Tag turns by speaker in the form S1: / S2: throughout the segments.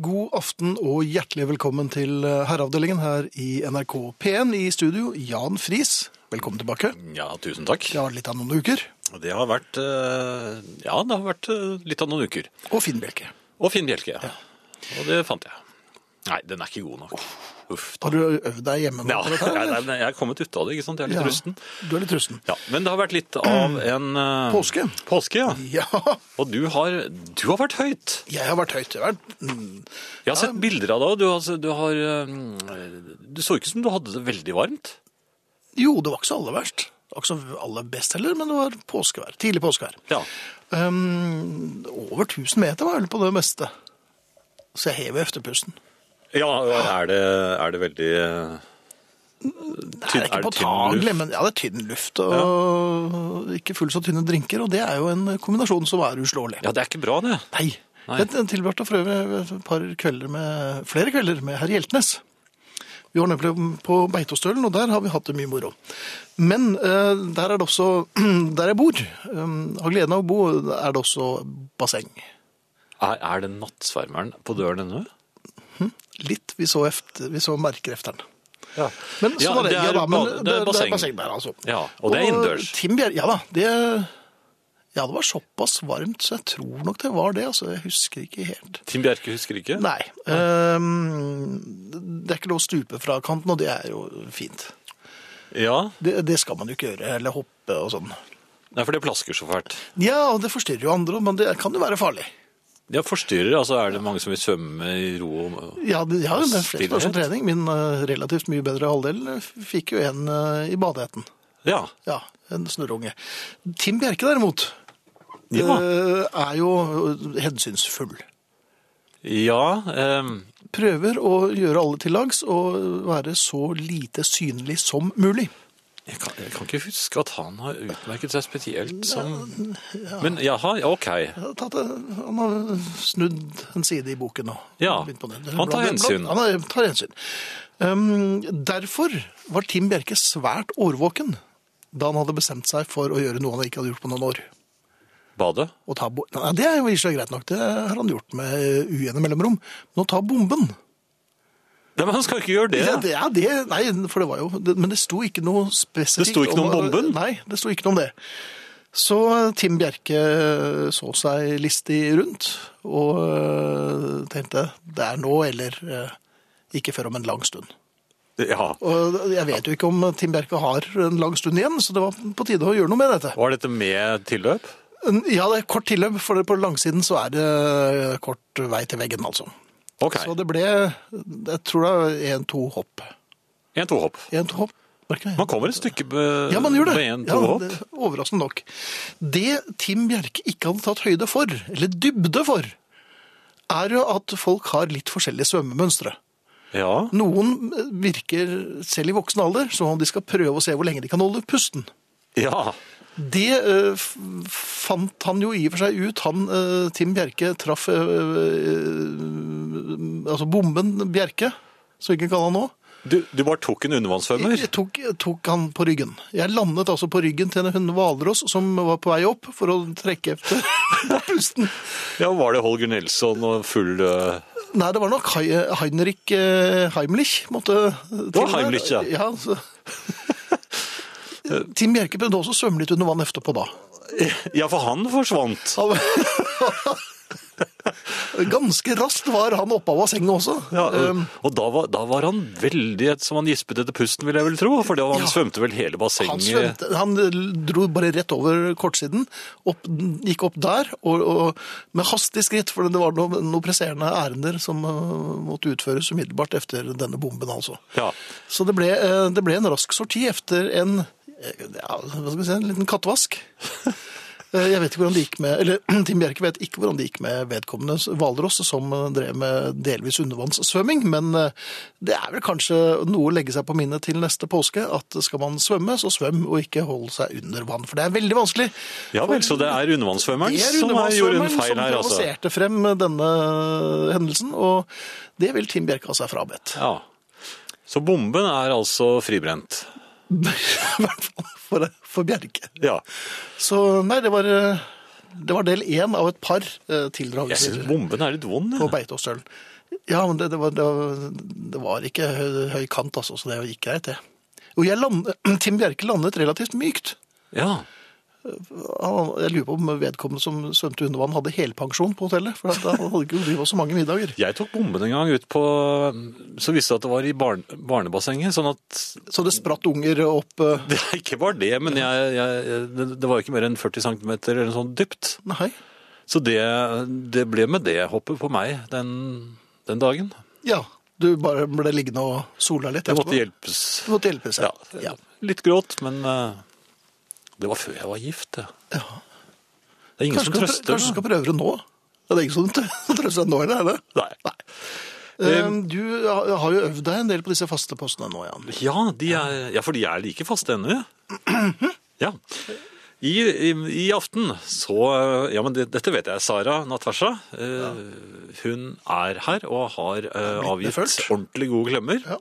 S1: God aften og hjertelig velkommen til eh, Herreavdelingen her i NRK P1 i studio. Jan Friis, velkommen tilbake.
S2: Ja, tusen takk.
S1: Det har vært litt av noen uker.
S2: Det har vært eh, Ja, det har vært eh, litt av noen uker.
S1: Og Finn Bjelke.
S2: Og Finn Bjelke. Ja. Og det fant jeg. Nei, den er ikke god nok. Uff. da.
S1: Har du øvd deg hjemme nå?
S2: Ja,
S1: på
S2: jeg,
S1: dette her, eller?
S2: jeg er kommet ut av det, ikke sant. Jeg er litt
S1: Ja,
S2: rusten.
S1: Du er litt rusten.
S2: Ja, Men det har vært litt av en eh,
S1: Påske.
S2: Påske, ja.
S1: Ja,
S2: Og du har, du har vært høyt.
S1: jeg har vært høyt. Jeg har vært mm,
S2: Jeg har sett bilder av deg, og du har, du har eh, Du så ikke ut som du hadde det veldig varmt.
S1: Jo, det var ikke så aller verst. Det var ikke så aller best heller, men det var påskevær. Tidlig påskevær.
S2: Ja.
S1: Um, over 1000 meter var jeg vel på det meste. Så jeg hever efterpusten.
S2: Ja, er det, er det veldig eh,
S1: Det er ikke
S2: tynn- det tynn luft?
S1: påtagelig, men ja, det er tynn luft og ikke fullt så tynne drinker, og det er jo en kombinasjon som er uslåelig.
S2: Ja, det er ikke bra, det.
S1: Nei.
S2: Nei.
S1: Jeg tilbrakte for øvrig et par kvelder med, flere kvelder med herr Hjeltnes. Vi var nemlig på Beitostølen, og der har vi hatt det mye moro. Men eh, der er det også, der jeg bor, eh, har gleden av å bo, er det også basseng.
S2: Er, er det nattsvermeren på døren ennå?
S1: Litt, vi så, efter, vi så merker efter den.
S2: Ja.
S1: Men så var det, ja, da, men
S2: ba-
S1: det, det er basseng. der, altså.
S2: Ja, og det er innendørs.
S1: Tim Bjer- ja da, det, ja, det var såpass varmt, så jeg tror nok det var det. altså Jeg husker ikke helt.
S2: Tim Bjerke husker ikke?
S1: Nei. ehm, det er ikke lov å stupe fra kanten, og det er jo fint.
S2: Ja,
S1: Det, det skal man jo ikke gjøre, eller hoppe og sånn.
S2: Nei, for det plasker så fælt.
S1: Ja, og det forstyrrer jo andre, men det kan jo være farlig.
S2: Ja, forstyrrer, altså er det mange som vil svømme i ro og
S1: Ja, det, ja, det er flere som har sånn
S2: Stillhet.
S1: trening. Min eh, relativt mye bedre halvdel eh, fikk jo en eh, i badeheten.
S2: Ja.
S1: Ja, en snurrunge. Tim Bjerke derimot,
S2: Ja,
S1: eh, er jo hensynsfull.
S2: ja ehm,
S1: prøver å gjøre alle til lags og være så lite synlig som mulig.
S2: jeg, kan, jeg kan ikke huske at han har utmerket seg spesielt som Men jaha, ja, ok.
S1: Jeg har tatt en- Han har snudd en side i boken nå.
S2: Ja,
S1: Begynt på den.
S2: han tar hensyn. Badet?
S1: Å ta bo Nei, det er jo i og for seg greit nok, det har han gjort med ujevne mellomrom. Men å ta bomben
S2: Nei, men han skal ikke gjøre det.
S1: Ja, det, ja, det, nei, for det var jo, det, men det sto ikke noe spesifikt.
S2: Det sto ikke noe om bomben?
S1: Nei, det sto ikke noe om det. Så Tim Bjerke eh, så seg listig rundt, og øh, tenkte, det er nå, eller øh, ikke før om en lang stund.
S2: Ja.
S1: Og jeg vet jo ikke om Tim Bjerke har en lang stund igjen, så det var på tide å gjøre noe med dette.
S2: Var dette med tilløp?
S1: Ja, det er kort tilløp, for på langsiden så er det eh, kort vei til veggen, altså.
S2: Ok.
S1: Så det ble, jeg tror det er en, to hopp.
S2: En, to hopp.
S1: En, to hopp, var det ikke det?
S2: Man kommer et stykke be-
S1: Ja, man gjør det.
S2: med en, to
S1: Ja,
S2: hopp.
S1: det- Overraskende nok. Det Tim Bjerke ikke hadde tatt høyde for, eller dybde for, er jo at folk har litt forskjellige svømmemønstre.
S2: Ja.
S1: Noen eh, virker, selv i voksen alder, som om de skal prøve å se hvor lenge de kan holde pusten.
S2: Ja.
S1: Det eh, f- fant han jo i og for seg ut. Han, eh, Tim Bjerke, traff eh, eh, altså bomben Bjerke, som vi kan kalle han nå.
S2: Du, du bare tok en undervannssvømmer?
S1: Jeg tok, tok han på ryggen. Jeg landet altså på ryggen til en hund hvalross som var på vei opp for å trekke efter pusten.
S2: Ja, var det Holger Nelson og full eh,
S1: Nei, det var nok Hei- Heinrich eh, Heimlich måtte til. der.
S2: var Heimlich, ja.
S1: ja så. Tim Bjerke prøvde også å svømme litt under vann etterpå da.
S2: Ja, for han forsvant.
S1: Ganske raskt var han oppe av bassenget også.
S2: Ja,
S1: Eh,
S2: og og da, var, da var han veldig et- som han gispet etter pusten, vil jeg vel tro. For det var- han svømte vel hele bassenget.
S1: Han, svømte, han dro bare rett over kortsiden, opp, gikk opp der, og, og med hastig skritt, for det var noen noe presserende ærender som øh, måtte utføres umiddelbart efter denne bomben, altså.
S2: Ja.
S1: Så det ble, øh, det ble en rask sorti efter en, øh, ja, hva skal vi si, en liten kattvask. Eh, Jeg vet ikke hvordan det gikk med, eller Tim Bjerke vet ikke hvordan det gikk med vedkommende Valros, som eh, drev med delvis undervannssvømming, men eh, det er vel kanskje noe å legge seg på minnet til neste påske, at skal man svømme, så svøm og ikke hold seg under vann, for det er veldig vanskelig.
S2: ja vel, så det er undervannssvømmeren
S1: Det er
S2: som har gjort en
S1: undervannssvømmeren
S2: feil
S1: som
S2: her, altså.
S1: provoserte frem denne hendelsen, og det vil Tim Bjerke ha seg frabedt.
S2: Ja. Så bomben er altså fribrent.
S1: I hvert fall for, for Bjerke.
S2: Ja.
S1: Så nei, det var, eh, det var del én av et par eh,
S2: Jeg
S1: tildragelser.
S2: syns bomben er litt vond.
S1: på
S2: jeg.
S1: Beitostølen. Ja, men det, det, var, det, var, det var ikke høy, høy kant, altså, så det gikk greit, det. Og jeg land, Tim Bjerke landet relativt mykt.
S2: Ja.
S1: Han, jeg lurer på om vedkommende som svømte under vann, hadde helpensjon på hotellet. For at han hadde ikke drivet så mange middager.
S2: Jeg tok bomben en gang ut på Så visste jeg at det var i barn, barnebassenget, sånn at
S1: Så det spratt unger opp eh,
S2: det Ikke var det, men jeg, jeg, det, det var jo ikke mer enn 40 cm eller noe sånt dypt.
S1: Nei.
S2: Så det, det ble med det hoppet på meg den, den dagen.
S1: Ja. Du bare ble liggende og sola litt.
S2: Det måtte
S1: etterpå.
S2: hjelpes.
S1: Du måtte hjelpe
S2: Ja,
S1: seg. Ja.
S2: Litt gråt, men eh, det var før jeg var gift. Det,
S1: Ja.
S2: det er ingen
S1: Kanskje, du skal
S2: som
S1: prø-
S2: trøster.
S1: kanskje du skal prøve det nå? Det er ingen som trøster deg nå, eller? er det?
S2: Nei.
S1: Eh, Du har har jo øvd deg en del på disse faste postene nå, Jan.
S2: Ja, de er, ja, for de er like faste ennå. Ja. I, i, I aften så eh, Ja, men det, dette vet jeg. Sara Natasha. eh, Hun er her og har eh, avgitt
S1: Vitneført.
S2: ordentlig gode klemmer.
S1: Ja.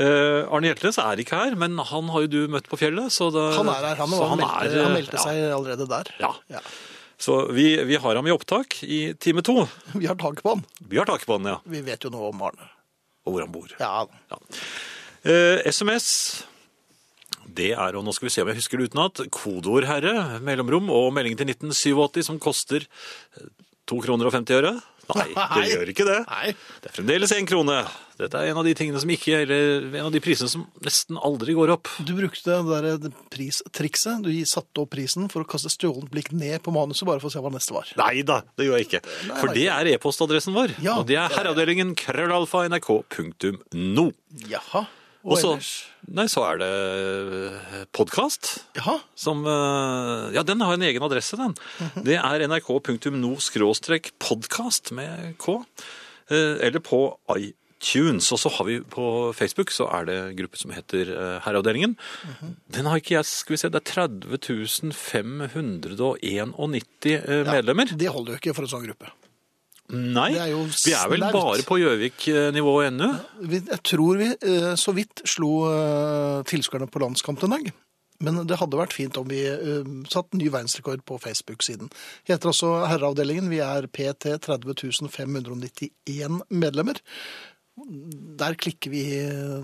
S2: Eh, Arne Hjeltnes er ikke her, men han har jo du møtt på fjellet. Så det,
S1: Han er her, han,
S2: så
S1: og han, meldte,
S2: er, eh,
S1: han meldte
S2: ja,
S1: seg allerede der.
S2: Ja.
S1: Ja.
S2: Så vi, vi har ham i opptak i time to.
S1: Vi har tak på han.
S2: Vi har tak på han, ja.
S1: Vi vet jo noe om Arne.
S2: Og hvor han bor.
S1: Ja,
S2: Ja. Eh, SMS, det er, og nå skal vi se om jeg husker det utenat, kodeord herre, mellomrom og melding til 1987 som koster 2 kroner og 50 øre. Nei, det
S1: Nei.
S2: gjør ikke det.
S1: Nei.
S2: Det er fremdeles én krone. Dette er en av de tingene som ikke, eller en av de prisene som nesten aldri går opp.
S1: Du brukte det der eh, pristrikset. Du satte opp prisen for å kaste stjålent blikk ned på manuset, bare for å se hva neste var.
S2: Nei da, det gjør jeg ikke.
S1: Nei,
S2: For
S1: nei.
S2: det er e-postadressen vår.
S1: Ja.
S2: Og det er herreavdelingen krøllalfa nrk.no.
S1: Jaha. Og
S2: Og så,
S1: ellers?
S2: nei, så er det eh, podkast.
S1: Jaha.
S2: Som, eh, ja, den har en egen adresse, den.
S1: Mhm.
S2: Det er nrk.no-podkast med K. eh, Eller på iTunes. Og så har vi på Facebook så er det en gruppe som heter eh, Herreavdelingen.
S1: Mhm.
S2: Den har ikke jeg Skal vi se, det er 30 591 eh, medlemmer.
S1: Det holder jo ikke for en sånn gruppe.
S2: Nei,
S1: det er jo
S2: vi er vel
S1: snaut.
S2: bare på Gjøvik-nivå ennå.
S1: Vi, jeg tror vi eh, så vidt slo eh, tilskuerne på landskamp den dag. Men det hadde vært fint om vi eh, satt ny verdensrekord på Facebook-siden. Vi heter altså Herreavdelingen. Vi er PT 30.591 medlemmer. Der klikker vi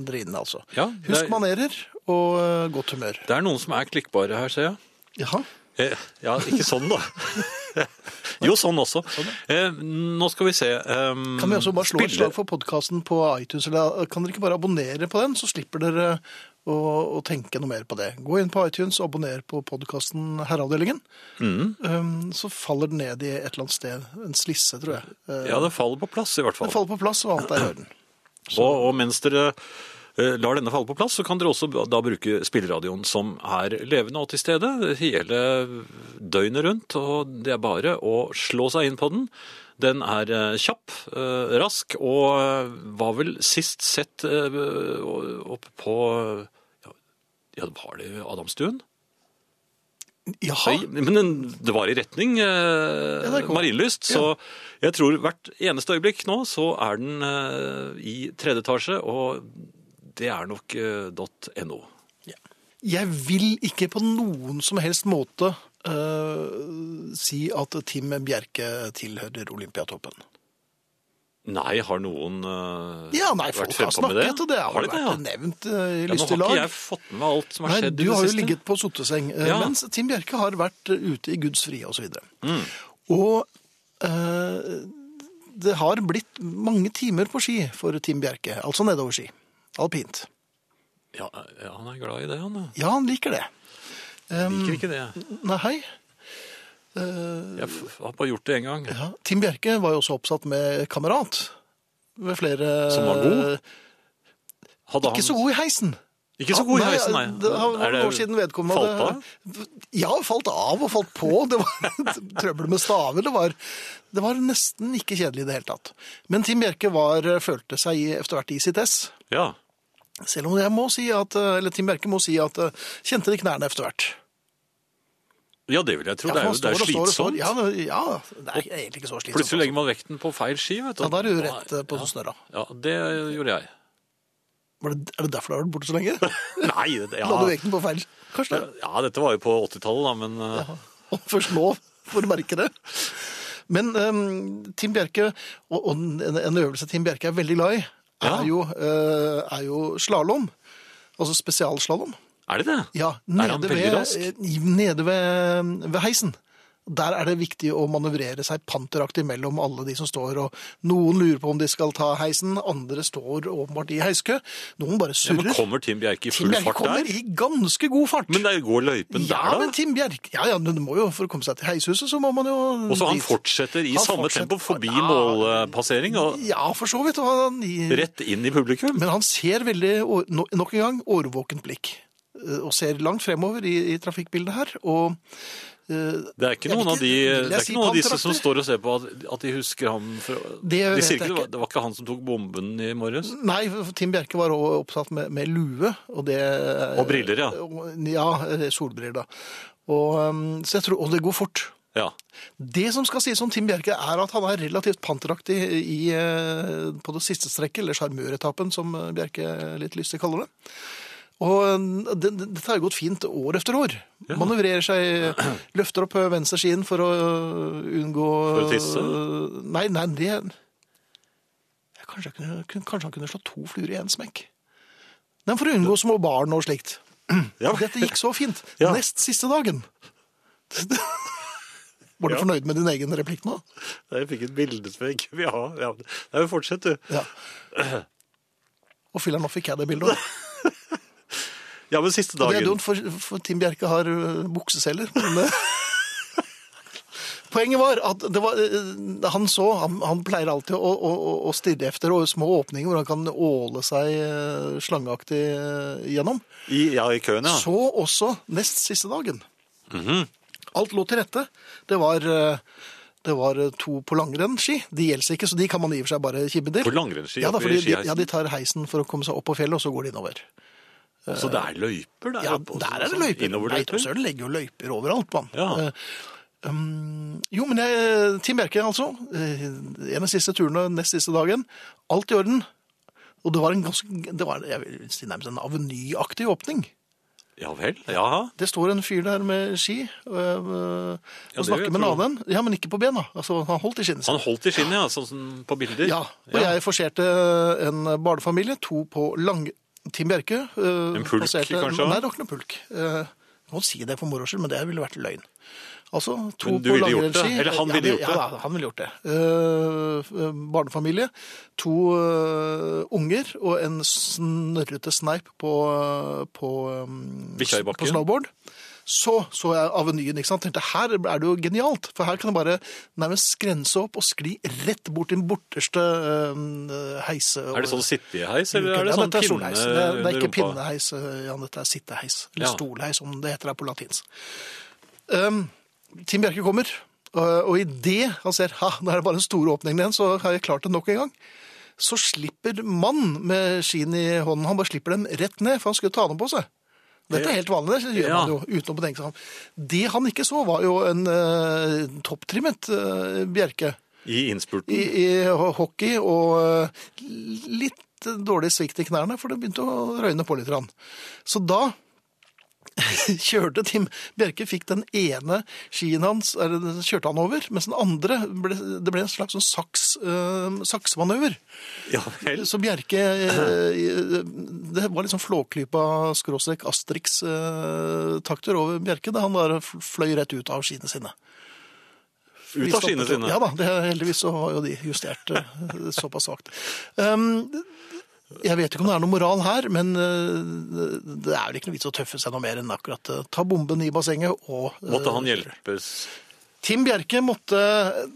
S1: dere inn, altså.
S2: Ja, det er-
S1: Husk manerer og eh, godt humør.
S2: Det er noen som er klikkbare her, ser jeg.
S1: Jaha.
S2: Eh, Ja, ikke sånn da. Jo, sånn også. Eh, Nå skal vi se. ehm,
S1: Kan vi også bare slå et
S2: spille-
S1: slag for podkasten på iTunes? Eller eh, kan dere ikke bare abonnere på den, så slipper dere å, å tenke noe mer på det? Gå inn på iTunes og abonner på podkasten Herreavdelingen.
S2: Mm.
S1: Um, så faller den ned i et eller annet sted. En slisse, tror jeg. Uh,
S2: Ja, det faller på plass i hvert fall.
S1: Den faller på plass, og alt er i orden.
S2: Og, og mens dere eh, lar denne falle på plass, så kan dere også da bruke spilleradioen som er levende og til stede hele døgnet rundt, og det er bare å slå seg inn på den. Den er eh, kjapp, eh, rask, og eh, var vel sist sett eh, oppe på ja, ja, var det Adamstuen?
S1: Jaha.
S2: Høy, men den, det var i retning eh,
S1: det kom.
S2: Marienlyst, så jeg tror hvert eneste øyeblikk nå så er den eh, i tredje etasje, og det er nok eh, .no.
S1: Jeg vil ikke på noen som helst måte uh, si at Tim Bjerke tilhører Olympiatoppen.
S2: Nei, har noen eh,
S1: Ja, nei, folk har
S2: vært frempå med det?
S1: snakket, og det har,
S2: Har de
S1: vært
S2: det, ja?
S1: nevnt uh, i
S2: Ja, nå
S1: lystig
S2: har ikke
S1: lag.
S2: jeg fått med alt som har
S1: Nei,
S2: skjedd
S1: du
S2: i det
S1: har jo
S2: siste.
S1: ligget på soteseng, eh,
S2: Ja.
S1: mens Tim Bjerke har vært eh, ute i Guds frie og så videre.
S2: Mm.
S1: Og eh, det har blitt mange timer på ski for Tim Bjerke, altså nedover ski. Alpint.
S2: Ja, ja, han er glad i det, han. ja.
S1: Ja, han liker det.
S2: Liker ikke det.
S1: Nei,
S2: Jeg f- har bare gjort det én gang.
S1: ja. Tim Bjerke var jo også oppsatt med kamerat. Ved flere... eh,
S2: Som var god? Hadde
S1: Ikke så god i heisen.
S2: Ikke så god i heisen, nei.
S1: Det har
S2: Er
S1: vært noen år siden vedkommende
S2: Falt av?
S1: hadde- Ja, falt av og falt på. Det var trøbbel med staver. Det var, det var nesten ikke kjedelig i det hele tatt. Men Tim Bjerke var, eh, følte seg i- etter hvert i sitt ess.
S2: Ja.
S1: Selv om jeg må si at, eller Tim Bjerke må si at eh, kjente det i knærne etter hvert.
S2: ja, det vil jeg tro.
S1: Ja,
S2: det er
S1: han
S2: jo det er
S1: står og står og står.
S2: slitsomt.
S1: Ja, det- ja, det er egentlig ikke så slitsomt.
S2: Plutselig legger man vekten på feil ski, vet du.
S1: Ja, da er du rett eh, på snørra.
S2: Ja, det gjorde jeg.
S1: Var det- Er det derfor du har vært borte så lenge?
S2: Nei, det, ja.
S1: La du vekten på feil? Kanskje det?
S2: ja, dette var jo på 80-tallet, da, men eh,
S1: Og først nå får du merke det. Men eh, Tim Bjerke, og, og en, en øvelse Tim Bjerke er veldig glad i, er
S2: Ja.
S1: jo, eh, er jo slalåm. Altså spesialslalåm.
S2: Er det det?
S1: Ja,
S2: han
S1: nede,
S2: veldig
S1: ved,
S2: rask?
S1: eh, nede ved, eh, ved heisen. Der er det viktig å manøvrere seg panteraktig mellom alle de som står, og noen lurer på om de skal ta heisen, andre står åpenbart i heiskø, noen bare
S2: Ja, men
S1: surrer.
S2: kommer Tim Bjerke i
S1: Tim
S2: full
S1: Bjerke
S2: fart
S1: kommer
S2: der?
S1: i ganske god fart.
S2: Men der går løypen
S1: ja,
S2: der, da?
S1: men Tim Bjerke, ja, ja, men det må jo, for å komme seg til heishuset, så må man jo...
S2: Og så han
S1: dit.
S2: fortsetter i
S1: Han
S2: samme
S1: fortsetter-
S2: tempo forbi
S1: Ja.
S2: målpassering og
S1: Ja, for så vidt. og Han,
S2: rett inn i publikum.
S1: Men han ser veldig, å- no- nok en gang, årvåkent blikk. eh, Og ser langt fremover i, i trafikkbildet her, og eh,
S2: Det er ikke
S1: Jeg
S2: noen
S1: vet
S2: av de,
S1: ikke, vil jeg
S2: det er
S1: si
S2: ikke noen av disse
S1: panteraktig?
S2: som står og ser på at, at de husker ham fra
S1: vet
S2: De sier
S1: jeg
S2: ikke det
S1: ikke.
S2: var, det var ikke han som tok bomben i morges?
S1: Nei, for Tim Bjerke var også opptatt med, med lue, og det
S2: Og briller, ja.
S1: og- Ja, solbriller, da. Og, um, så jeg tror, og det går fort.
S2: Ja.
S1: Det som skal sies om Tim Bjerke, er at han er relativt panteraktig i, eh, på det siste strekket, eller sjarmøretappen, som eh, Bjerke litt lystig kaller det. Og eh, det- det- dette har jo gått fint år etter år. Manøvrerer seg, løfter opp venstre skien for å eh, unngå eh,
S2: For å tisse?
S1: Nei, nei, det Kanskje, jeg kunne, kun- kanskje han kunne slå to fluer i én smekk. Men for å unngå små barn og slikt.
S2: Ja.
S1: Dette gikk så fint.
S2: Ja.
S1: Nest siste dagen. Var du
S2: Ja.
S1: fornøyd med din egen replikk nå?
S2: Jeg fikk et bilde som jeg ikke vil ha. Ja, men fortsett, du.
S1: Ja. Og filler'n, nå fikk jeg det bildet òg.
S2: Ja, men siste
S1: Det er
S2: dagen.
S1: dumt, for, for Tim Bjerke har øh, bukseseler. Men, øh, Poenget var at det var, øh, han så Han, han pleier alltid å, å, å- å stirre etter og små åpninger hvor han kan åle seg øh, slangeaktig øh, gjennom.
S2: I, ja, i køen, ja. Mhm.
S1: Så også nest siste dagen. Alt lå til rette. Det var, eh, det var eh, to på langrennsski. De gjelder ikke, så de kan man i og for seg bare kibbe til.
S2: På langrennsski
S1: ja, da,
S2: oppe i
S1: fordi de,
S2: skiheisen.
S1: ja, de tar heisen for å komme seg opp på fjellet, og så går de innover.
S2: Så det er løyper der
S1: Ja,
S2: oppe, og
S1: der er det
S2: sånn
S1: løyper. Nei,
S2: Innoverløyper.
S1: Søren legger jo løyper overalt, mann.
S2: Ja.
S1: Eh, Um, jo, men jeg, Tim Bjerke, altså. eh, En av siste turene, nest siste dagen. Alt i orden. Og det var en ganske, det var, jeg vil si nærmest en avenyaktig åpning.
S2: Ja vel. Ja.
S1: Det står en fyr der med ski øh, øh,
S2: Ja, det
S1: og snakker
S2: vet
S1: med
S2: du.
S1: naboen. Ja, men ikke på bena. Altså, han holdt i skinnet sitt.
S2: Han holdt i skinnet, ja, sånn som på bilder.
S1: Ja, og jeg forserte øh, en barnefamilie, to på lang... Tim Bjerke. øh,
S2: En pulk, kanskje?
S1: Nei, det var ikke noen pulk. Eh, Jeg kan godt si det for moro skyld, men det ville vært løgn. Altså, to
S2: Men du
S1: på
S2: ville gjort det?
S1: langrennsski.
S2: Eller han
S1: Ja,
S2: ville
S1: det-
S2: gjort det?
S1: Ja, han ville gjort det. Eh, eh, barnefamilie, to eh, unger og en snørrete sneip på, øh, på eh,
S2: Bikkja i bakken.
S1: På snowboard. Så så jeg avenyen, ikke sant? tenkte her er det jo genialt, for her kan jeg bare nærmest skrense opp og skli rett bort til den borteste øh, heise.
S2: Er det sånn sitteheis, eller er
S1: Ja,
S2: det sånn
S1: dette
S2: pinne
S1: solheis. det, er- det
S2: under
S1: er ikke
S2: rumpa?
S1: pinneheis, øh, Jan, dette er sitteheis. Eller
S2: Ja.
S1: stolheis, som det heter her på latins. Um, Tim Bjerke kommer, og, og i det han ser ha, nå er det bare den store åpningen igjen, så har jeg klart det nok en gang. Så slipper mannen med skien i hånden, han bare slipper dem rett ned, for han skulle ta dem på seg. Dette er helt vanlig, det gjør man
S2: Ja.
S1: jo uten å tenke seg om. Det han ikke så, var jo en eh, topptrimmet eh, Bjerke
S2: I innspurten?
S1: i, i hockey og eh, litt dårlig svikt i knærne, for det begynte å røyne på litt. grann. Så da kjørte Tim Bjerke, fikk den ene skien hans, eller den kjørte han over, mens den andre, ble, det ble en slags sånn saks, eh, saksmanøver.
S2: Ja vel.
S1: Så Bjerke eh, Det var liksom flåklypa skråstrek Asterix-takter over Bjerke da han bare fl- fløy rett ut av skiene sine.
S2: Ut av skiene sine.
S1: Ja da, det, heldigvis så var jo de justert eh, såpass svakt. Um, jeg vet ikke om det er noe moral her, men eh, det er vel ikke noe vits å tøffe seg noe mer enn akkurat eh, ta bomben i bassenget og eh,
S2: Måtte han hjelpes?
S1: Tim Bjerke måtte eh,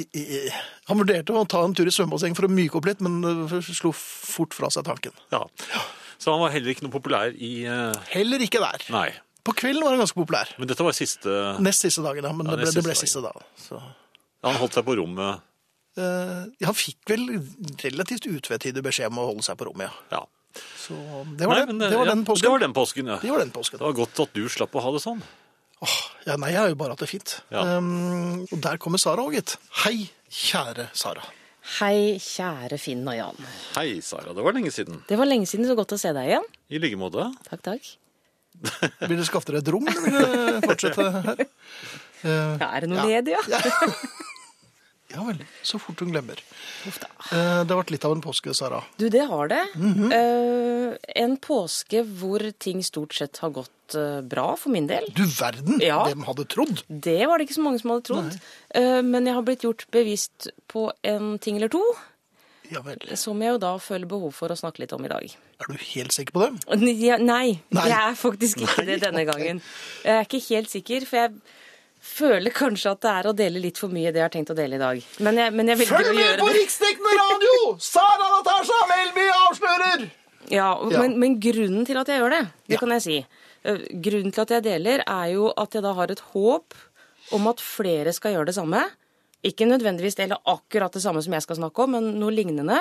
S1: i- i- Han vurderte å ta en tur i svømmebasseng for å myke opp litt, men eh, slo fort fra seg tanken.
S2: Ja. Så han var heller ikke noe populær i eh,
S1: Heller ikke der.
S2: Nei.
S1: På kvelden var han ganske populær.
S2: Men dette var siste
S1: Nest siste dagen, ja. Men
S2: Ja,
S1: det ble,
S2: nest
S1: det ble
S2: siste
S1: siste dagen. Så.
S2: Han holdt seg på rommet.
S1: Eh, han fikk vel relativt utvetydig beskjed om å holde seg på rommet, ja.
S2: Ja.
S1: Så um, det var,
S2: Nei,
S1: det.
S2: men,
S1: det var
S2: ja,
S1: den
S2: Det
S1: påsken.
S2: var den påsken, ja.
S1: Det var den påsken.
S2: Det var godt at du slapp å ha det sånn.
S1: Åh, ja, nei, jeg har jo bare hatt det fint.
S2: Ja.
S1: Um, og der kommer Sara òg, gitt. Hei, kjære Sara.
S3: Hei, kjære Finn og Jan.
S2: Hei, Sara. Det var lenge siden.
S3: Det var lenge siden, så godt å se deg igjen.
S2: I like måte.
S3: Takk, takk.
S1: Vil dere skaffe dere et rom, eller vil dere fortsette her?
S3: Ja, er det noe ledig, ja?
S1: Ja vel. Så fort hun glemmer.
S3: Uff da.
S1: Eh, Det har vært litt av en påske, Sara.
S3: Du, det har det.
S1: Mhm.
S3: Eh, en påske hvor ting stort sett har gått eh, bra for min del.
S1: Du verden!
S3: Ja.
S1: Hvem hadde trodd?
S3: Det var det ikke så mange som hadde trodd. Eh, men jeg har blitt gjort bevisst på en ting eller to,
S1: Ja vel.
S3: som jeg jo da føler behov for å snakke litt om i dag.
S1: Er du helt sikker på det?
S3: N- ja, Nei,
S1: Nei.
S3: jeg er faktisk ikke det denne gangen. Jeg er ikke helt sikker, for jeg føler kanskje at det er å dele litt for mye det jeg har tenkt å dele i dag. Men jeg, men jeg velger å gjøre det.
S1: riksdekkende radio! Sara Natasha Melby avslører!
S3: Ja, og-
S1: Ja.
S3: Men, men grunnen til at jeg gjør det, det
S1: Ja.
S3: kan jeg si. Eh, Grunnen til at jeg deler, er jo at jeg da har et håp om at flere skal gjøre det samme. Ikke nødvendigvis dele akkurat det samme som jeg skal snakke om, men noe lignende.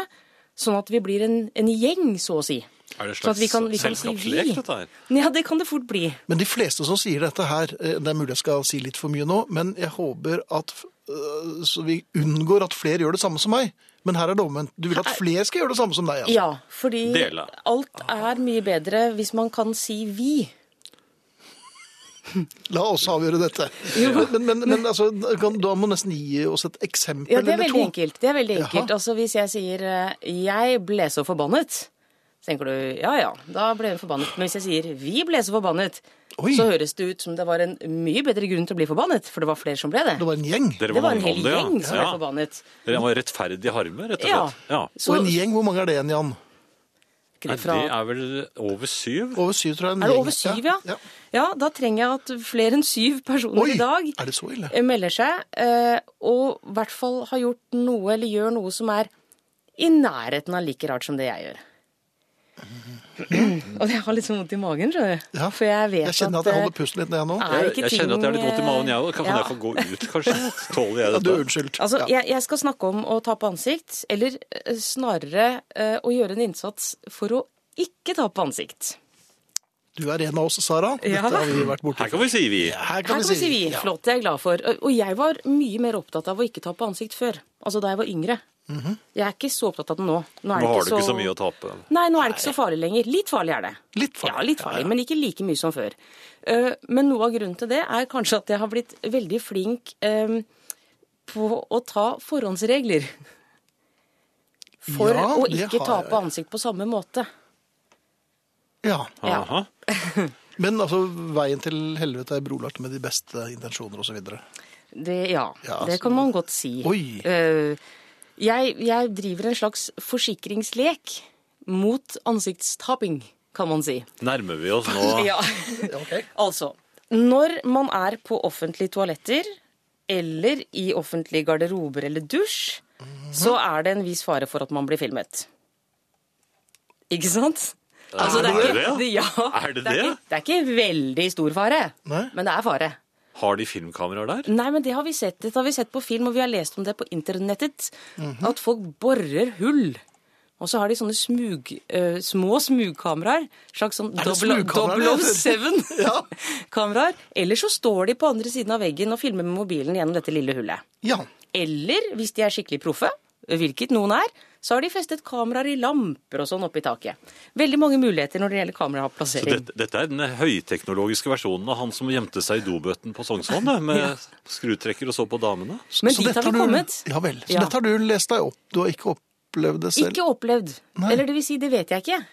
S3: Sånn at vi blir en, en gjeng, så å si.
S2: Er det en
S3: Sånn at vi
S2: slags
S3: kan- vi kan si
S2: selskapslek,
S3: vi.
S2: dette her?
S3: Ja, det kan det fort bli.
S1: Men de fleste som sier dette her, eh, det er mulig jeg skal si litt for mye nå, men jeg håper at eh, så vi unngår at flere gjør det samme som meg. Men her er det omvendt. Du vil at flere skal gjøre det samme som deg. Altså.
S3: Ja, fordi
S2: Dele.
S3: alt er mye bedre hvis man kan si vi.
S1: La oss avgjøre dette. Men, men, men altså, kan, da må du nesten gi oss et eksempel
S3: Ja, det er
S1: eller
S3: veldig
S1: to.
S3: enkelt. Det er veldig
S1: Jaha.
S3: enkelt. Altså hvis jeg sier eh, 'jeg ble så forbannet', så tenker du ja ja, da ble hun forbannet. Men hvis jeg sier 'vi ble så forbannet',
S1: Oi.
S3: så høres det ut som det var en mye bedre grunn til å bli forbannet, for det var flere som ble det.
S1: Det var en gjeng.
S2: Dere
S3: Det var en
S2: mange om
S3: hel
S2: det, ja.
S3: gjeng som ble
S2: Ja.
S3: forbannet.
S2: Dere var rettferdig harme, rett og
S3: Ja.
S2: slett. Ja.
S1: Og
S3: Så
S1: en gjeng, hvor mange er det igjen, Jan?
S2: Nei,
S3: ikke
S2: det
S3: fra
S2: er vel over syv?
S1: Over syv, tror jeg. en
S3: Er det
S1: gjeng.
S3: over syv, ja?
S1: ja.
S3: Ja, da trenger jeg at flere enn syv personer
S1: Oi,
S3: i dag
S1: er det så ille?
S3: melder seg, eh, og i hvert fall har gjort noe eller gjør noe som er i nærheten av like rart som det jeg gjør. Og jeg har litt sånn vondt i magen, skjønner du.
S1: Ja.
S3: For jeg vet eh,
S1: Jeg kjenner at jeg holder pusten litt ned nå.
S3: Nei. er
S2: Jeg,
S3: ikke
S2: jeg kjenner at jeg er litt
S3: ting,
S2: vondt i magen, jeg òg. Kan kan
S3: ja.
S2: jeg få gå ut, kanskje? Tåler jeg
S1: Ja, du,
S2: dette?
S1: unnskyld.
S3: Altså,
S1: ja.
S3: jeg, jeg skal snakke om å tape ansikt, eller eh, snarere eh, å gjøre en innsats for å ikke tape ansikt.
S1: Du er en av oss, Sara. Dette
S3: Ja.
S1: har vi vært borti.
S2: Her kan vi si vi.
S1: Her
S3: Her kan vi si vi.
S1: Ja.
S3: Flott, det er jeg glad for. Og- Og jeg var mye mer opptatt av å ikke tape ansikt før. Altså da jeg var yngre.
S1: Mhm.
S3: Jeg er ikke så opptatt av det nå. Nå, er det
S2: Nå har du ikke så mye å tape.
S3: Nei, nå er det ikke så farlig lenger. Litt farlig er det.
S1: Litt farlig.
S3: Ja, litt farlig, men ikke like mye som før. Eh, Men noe av grunnen til det er kanskje at jeg har blitt veldig flink eh, på å ta forhåndsregler. For
S1: Ja,
S3: å
S1: det
S3: ikke
S1: har jeg.
S3: tape ansikt på samme måte.
S1: Ja.
S3: Ja.
S2: Aha.
S1: Men altså, veien til helvete er brolagt med de beste intensjoner osv.
S3: Det, ja,
S1: Ja,
S3: det
S1: altså-
S3: kan man godt si.
S1: Oi.
S3: Eh, jeg, jeg driver en slags forsikringslek mot ansiktstaping, kan man si.
S2: Nærmer vi oss nå eh,
S3: Ja. altså, når man er på offentlige toaletter eller i offentlige garderober eller dusj, så
S2: Mhm.
S3: er det en viss fare for at man blir filmet. Ikke sant? Altså,
S2: Er det
S3: ikke-
S2: det?
S3: Ja,
S2: Er det det?
S3: er Ikke, det er ikke veldig stor fare,
S1: Nei.
S3: men det er fare.
S2: Har de filmkameraer der?
S3: Nei, men det har vi sett. Det har vi sett på film, og vi har lest om det på internettet.
S1: Mhm.
S3: At folk borer hull. Og så har de sånne smug, eh, små smugkameraer. Slags sånn
S1: det smugkameraer det heter?
S3: 007-kameraer. Eller så står de på andre siden av veggen og filmer med mobilen gjennom dette lille hullet.
S1: Ja.
S3: Eller hvis de er skikkelig proffe, hvilket noen er, så har de festet kameraer i lamper og sånn oppe i taket. Veldig mange muligheter når det
S2: Så
S3: gjelder kameraplassering.
S2: dette, dette er den høyteknologiske versjonen av han som gjemte seg i dobøtten på Sognsvann, det, med skrutrekker og så på damene.
S3: Men
S1: Så
S3: dit
S1: dette
S3: har vi
S1: du-
S3: kommet.
S1: Ja vel. Så
S3: Ja.
S1: dette har du lest deg opp. Du har ikke opplevd det selv?
S3: Ikke opplevd.
S1: Nei.
S3: Eller det vil si, det vet jeg ikke.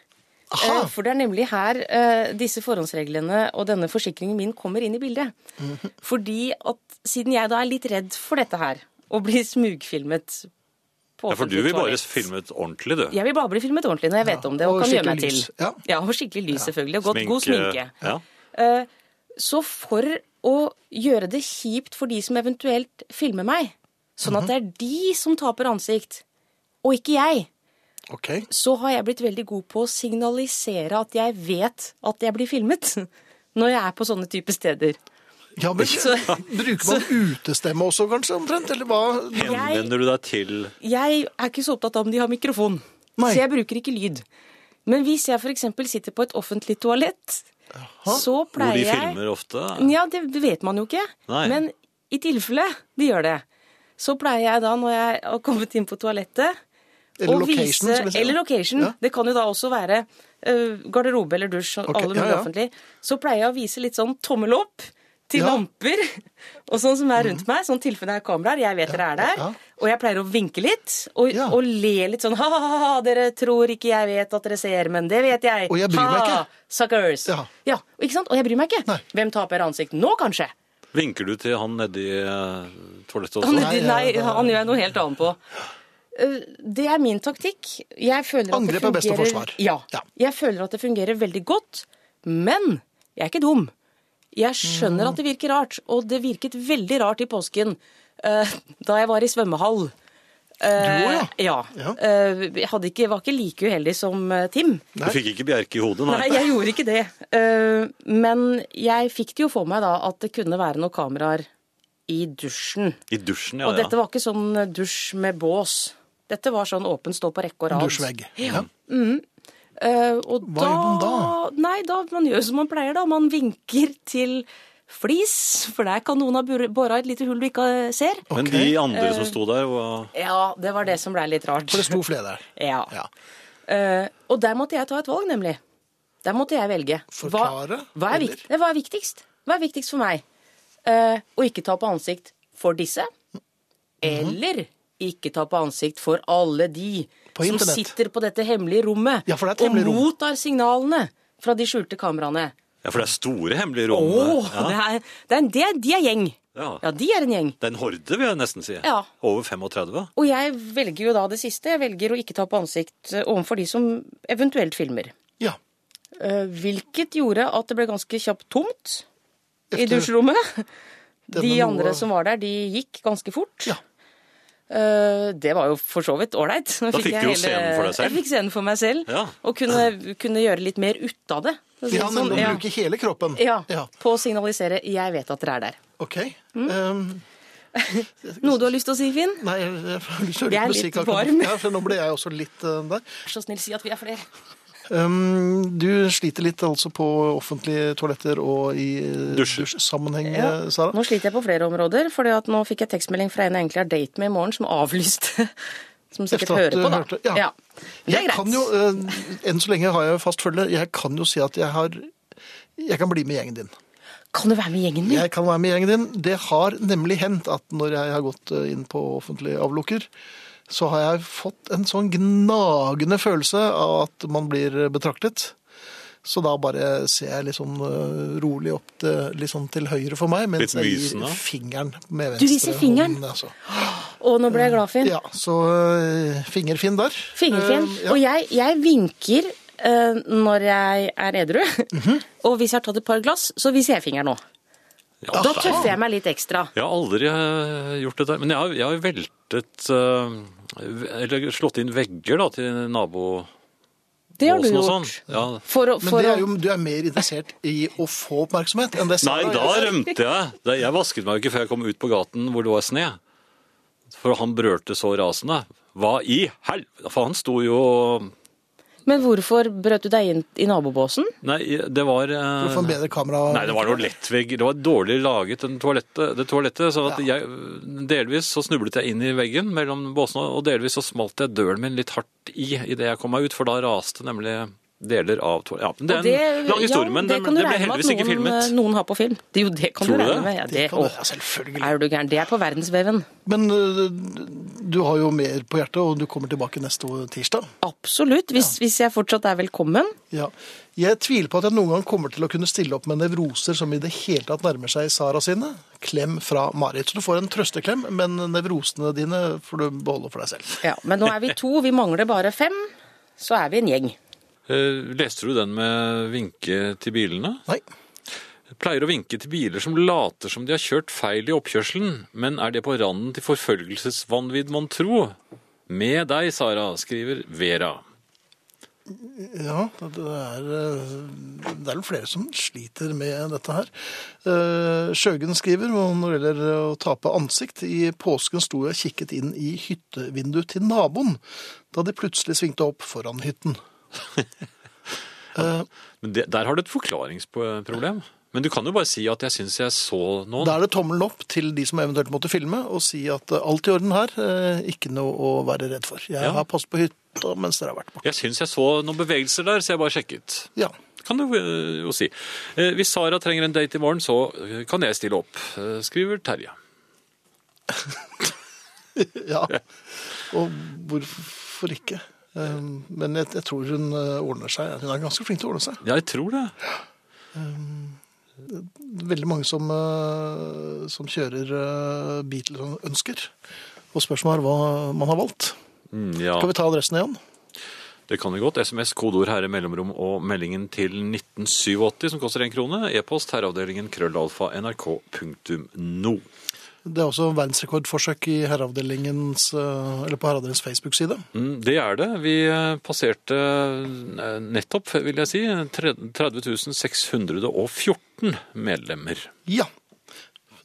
S1: Aha.
S3: Eh, For det er nemlig her eh, disse forhåndsreglene og denne forsikringen min kommer inn i bildet.
S1: Mhm.
S3: Fordi at siden jeg da er litt redd for dette her, og blir smugfilmet på
S2: Ja, for du
S3: offentlig
S2: vil bare
S3: toalett.
S2: filme et ordentlig, du.
S3: Jeg vil bare bli filmet ordentlig når jeg vet om det, og,
S1: og
S3: kan gjøre
S1: skikkelig
S3: meg til.
S1: lys. Ja.
S3: og skikkelig lys, selvfølgelig. Og godt, god sminke.
S2: Ja.
S3: Eh, Så for å gjøre det kjipt for de som eventuelt filmer meg, sånn
S1: Mhm.
S3: at det er de som taper ansikt, og ikke jeg,
S1: Ok.
S3: så har jeg blitt veldig god på å signalisere at jeg vet at jeg blir filmet. Når jeg er på sånne type steder.
S1: Ja, men
S3: Så-
S1: Bruker man utestemme også, kanskje? omtrent? Eller hva?
S2: Henvender du deg til
S3: Jeg er ikke så opptatt av om de har mikrofon,
S1: Nei.
S3: så jeg bruker ikke lyd. Men hvis jeg f.eks. sitter på et offentlig toalett, så
S2: hvor
S3: pleier
S2: de
S3: jeg
S2: filmer ofte?
S3: Ja, det vet man jo ikke.
S2: Nei.
S3: Men i tilfelle de gjør det, så pleier jeg da, når jeg har kommet inn på toalettet
S1: Eller
S3: å
S1: location, som vi sier.
S3: Eller location.
S1: Ja.
S3: Det kan jo da også være ø, garderobe eller dusj og
S1: Ok,
S3: alle mulige
S1: ja, ja.
S3: offentlig. Så pleier jeg å vise litt sånn tommel opp til
S1: Ja. Mhm.
S3: lamper og sånn som er rundt meg. Sånn tilfelle det er kameraer. Jeg vet dere er der.
S1: ja.
S3: Og jeg pleier å vinke litt og,
S1: Ja.
S3: og le litt sånn ha-ha-ha, dere tror ikke jeg vet at dere ser, men det vet jeg.
S1: Og jeg bryr meg
S3: Ha,
S1: ikke.
S3: Suckers.
S1: Ja.
S3: ikke sant? Og jeg bryr meg ikke.
S1: Nei.
S3: Hvem taper ansikt nå, kanskje?
S2: Vinker du til han nedi eh, toalettet
S3: Han,
S2: også?
S1: Nei,
S3: nei,
S1: ja, det er-
S3: han gjør jeg noe helt annet på. Eh, Det er min taktikk. Jeg føler at det
S1: Angrep er beste
S3: fungerer-
S1: forsvar.
S3: Ja.
S1: Ja.
S3: Jeg føler at det fungerer veldig godt, men jeg er ikke dum. Jeg skjønner at det virker rart, og det virket veldig rart i påsken eh, da jeg var i svømmehall.
S1: også,
S3: Eh, ja.
S1: Ja.
S3: Eh, Jeg hadde ikke, var ikke like uheldig som eh, Tim.
S2: Du fikk ikke bjerke i hodet, nei.
S3: Nei, jeg gjorde ikke det. Eh, Men jeg fikk det jo for meg da at det kunne være noen kameraer i dusjen.
S2: I dusjen, ja.
S3: Og dette var ikke sånn dusj med bås. Dette var sånn åpen stå på rekke og rad.
S1: Dusjvegg. Ja.
S3: Eh, og
S1: Hva gjør man da?
S3: Nei, da man gjør som man pleier, da. Man vinker til flis, for der kan noen ha bur- bora et lite hull du ikke eh, ser.
S2: ja. Men de andre
S3: eh.
S2: som sto der, var
S3: Ja, det var det som blei litt rart.
S1: For det sto flere der.
S3: Ja.
S1: Ja.
S3: Eh, og der måtte jeg ta et valg, nemlig. Der måtte jeg velge.
S1: Forklare,
S3: hva, hva, er
S1: eller?
S3: vikt, nei, hva er viktigst? Hva er viktigst for meg? Eh, å ikke ta på ansikt for disse,
S1: Mhm.
S3: eller ikke ta på ansikt for alle de
S1: På
S3: som
S1: internett.
S3: sitter på dette hemmelige rommet
S1: Ja, for det er et
S3: og
S1: hemmelig rom.
S3: mottar signalene fra de skjulte kameraene.
S2: Ja, for det er store hemmelige rom.
S3: Åh,
S2: der. ja.
S3: det er, det er, en- det er, de er gjeng.
S2: Ja.
S3: Ja, de er en gjeng.
S2: Det er en horde, vil jeg nesten si.
S3: Ja.
S2: Over 35.
S3: Og jeg velger jo da det siste. Jeg velger å ikke ta på ansikt eh, overfor de som eventuelt filmer.
S1: ja.
S3: Eh, Hvilket gjorde at det ble ganske kjapt tomt i
S1: Efter-
S3: dusjrommet. De
S1: Denne
S3: andre
S1: noe-
S3: som var der, de gikk ganske fort.
S1: Ja.
S3: Eh, Det var jo for så vidt ålreit. Nå
S2: Da fikk
S3: jeg
S2: du jo scenen for deg selv.
S3: Jeg fikk scenen for meg selv,
S2: Ja.
S3: og kunne, kunne gjøre litt mer ut av det. Så
S1: Ja,
S3: sånn,
S1: nemlig å
S3: ja.
S1: bruke hele kroppen.
S3: Ja,
S1: ja.
S3: På å signalisere 'jeg vet at dere er der'.
S1: Ok.
S3: Mm.
S1: Um,
S3: Noe du har lyst til å si, Finn?
S1: nei, jeg jeg har lyst til å
S3: Jeg
S1: høre
S3: er
S1: litt
S3: litt
S1: musikk. akkurat.
S3: varm.
S1: Ja, for nå ble jeg også litt eh, der.
S3: Vær så snill, si at vi er flere.
S1: Um, du sliter litt altså på offentlige toaletter og i eh,
S2: Dusjer.
S1: dusjsammenheng, eh, Sara.
S3: Nå sliter jeg på flere områder, for nå fikk jeg tekstmelding fra en jeg egentlig har date med i morgen, som avlyste. Som sikkert
S1: Efter at
S3: hører
S1: du
S3: på, da.
S1: hørte- ja.
S3: Det er
S1: Jeg kan
S3: greit.
S1: jo, eh, enn så lenge har jeg fast følge, jeg kan jo si at jeg har jeg kan bli med gjengen din.
S3: Kan du være med i gjengen min?
S1: Jeg kan være med gjengen din. Det har nemlig hendt at når jeg har gått eh, inn på offentlig avlukker, så har jeg fått en sånn gnagende følelse av at man blir betraktet. Så da bare ser jeg litt sånn eh, rolig opp til, litt sånn til høyre for meg, mens
S2: Litt
S1: jeg
S2: mysen, da?
S1: gir fingeren med venstre
S3: Du viser fingeren?
S1: hånd, altså.
S3: Å, nå ble jeg glad, Finn.
S1: Ja, så eh, fingerfinn der.
S3: Fingerfin.
S1: Eh, ja.
S3: Og jeg, jeg vinker eh, når jeg er edru.
S1: Mhm.
S3: Og hvis jeg har tatt et par glass, så viser jeg fingeren nå.
S2: Ja,
S3: Da
S2: det er-
S3: tøffer jeg meg litt ekstra.
S2: Jeg har aldri eh, gjort det der. Men jeg har, jeg har veltet eh, Eller slått inn vegger da, til nabobåsen
S3: Det har du
S2: og
S3: gjort.
S2: sånn. Ja.
S3: For, å-
S1: Men
S3: for
S1: det er
S3: å-
S1: jo, du er mer interessert i å få oppmerksomhet enn det
S2: Nei,
S1: Sara
S2: da
S1: er.
S2: rømte jeg. Det- Jeg vasket meg jo ikke før jeg kom ut på gaten hvor det var sne. For han brølte så rasende. Hva i helvete? For han sto jo
S3: Men hvorfor brøt du deg inn i nabobåsen?
S2: Nei, det var eh,
S1: For å få en bedre kamera.
S2: Nei, det var noe lettvegg. Det var dårlig laget den toalettet, det toalettet. Så at jeg, delvis så snublet jeg inn i veggen mellom båsene, og delvis så smalt jeg døren min litt hardt i idet jeg kom meg ut, for da raste nemlig deler av toalettet. Ja, men det er en lang historie, men det,
S3: kan du
S2: det ble
S3: regne med at
S2: heldigvis ikke
S3: noen, eh,
S2: filmet.
S3: noen har på film. Det, jo, det kan
S2: Tror
S3: du
S2: du
S3: regne
S2: det?
S3: med. Ja, det,
S1: Kan du-
S3: å,
S1: Ja, selvfølgelig.
S3: er du gæren? Det er på verdensveven.
S1: Men øh, du har jo mer på hjertet, og du kommer tilbake neste tirsdag.
S3: Absolutt. Hvis, hvis jeg fortsatt er velkommen.
S1: Ja. Jeg tviler på at jeg noen gang kommer til å kunne stille opp med nevroser som i det hele tatt nærmer seg Sara sine. Klem fra Marit. Så du får en trøsteklem, men nevrosene dine får du beholde for deg selv.
S3: Ja, men nå er vi to, vi mangler bare fem. Så er vi en gjeng.
S2: Eh, Leste du den med vinke til bilene?
S1: Nei.
S2: Pleier å vinke til biler som later som de har kjørt feil i oppkjørselen, men er det på randen til forfølgelsesvanvidd, mon tro? Med deg, Sara, skriver Vera.
S1: Ja, det er, øh, det er jo flere som sliter med dette her. Eh, Sjøgen skriver om når det gjelder å tape ansikt. I påsken sto jeg og kikket inn i hyttevinduet til naboen da de plutselig svingte opp foran hytten.
S2: Men det, der har du et forklaringsproblem. Men du kan jo bare si at jeg syns jeg så noen.
S1: Da er det tommelen opp til de som eventuelt måtte filme, og si at eh, alt i orden her, eh, ikke noe å være redd for. Jeg
S2: Ja.
S1: har passet på hytta mens dere har vært borte.
S2: Jeg syns jeg så noen bevegelser der, så jeg bare sjekket.
S1: Ja.
S2: Det kan du eh, jo si. Eh, Hvis Sara trenger en date i morgen, så eh, kan jeg stille opp, eh, skriver Terje.
S1: ja. Og hvorfor ikke? Eh, Men jeg, jeg tror hun eh, ordner seg. Hun er ganske flink til å ordne seg.
S2: Jeg tror det.
S1: Veldig mange som, eh, som kjører eh, bil som ønsker. Og spørsmålet er hva man har valgt.
S2: Mm, ja,
S1: Skal vi ta adressen igjen?
S2: det kan vi godt. SMS, kodeord herre, mellomrom og meldingen til 1987 som koster én krone. E-post herreavdelingen krøllalfa nrk.no.
S1: Det er også verdensrekordforsøk i herreavdelingens, eh, eller på herreavdelingens Facebook-side.
S2: Mm, Det er det. Vi eh, passerte eh, nettopp, vil jeg si, tre- 30 614 medlemmer.
S1: Ja.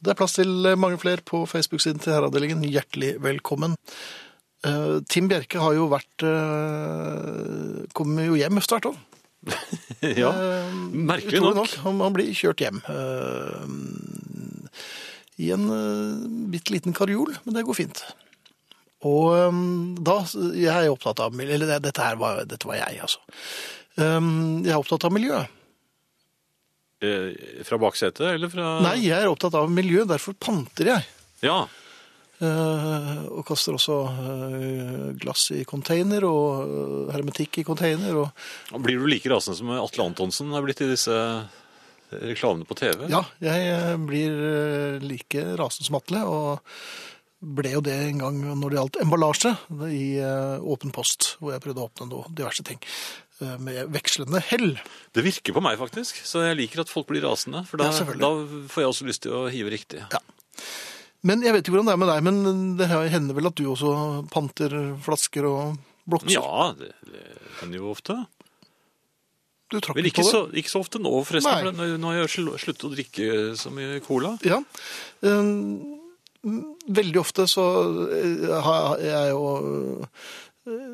S1: Det er plass til mange flere på Facebook-siden til Herreavdelingen. Hjertelig velkommen. Eh, Tim Bjerke har jo vært eh, Kommer jo hjem etter hvert òg.
S2: ja,
S1: Eh,
S2: Eh, merkelig nok.
S1: Han, han blir kjørt hjem. eh, I en eh, bitte liten karjol, men det går fint. Og eh, da Jeg er opptatt av miljø... Eller det- dette her var, dette var jeg, altså. Eh, jeg er opptatt av miljø.
S2: Eh, Fra baksetet, eller fra
S1: Nei, jeg er opptatt av miljø, derfor panter jeg.
S2: Ja.
S1: Eh, og kaster også eh, glass i container og eh, hermetikk i container. Og,
S2: Blir du like rasende som Atle Antonsen har blitt i disse eh, reklamene på TV?
S1: ja, jeg eh, blir eh, like rasende som Atle, og ble jo det en gang når det gjaldt emballasje det i eh, Åpen post, hvor jeg prøvde å åpne noe, diverse ting. eh, Med vekslende hell.
S2: Det virker på meg, faktisk. Så jeg liker at folk blir rasende. For da,
S1: Ja, selvfølgelig.
S2: da får jeg også lyst til å hive riktig.
S1: Men jeg vet ikke hvordan det er med deg, men det hender vel at du også panter flasker og blokser?
S2: Ja, det, det hender jo ofte.
S1: Du trakk
S2: Men
S1: litt
S2: ikke
S1: på det.
S2: så, ikke så ofte nå, forresten.
S1: Nei.
S2: For nå- nå har jeg sl- sluttet å drikke så mye cola.
S1: Ja. Um, Veldig ofte så eh, har jeg jo eh,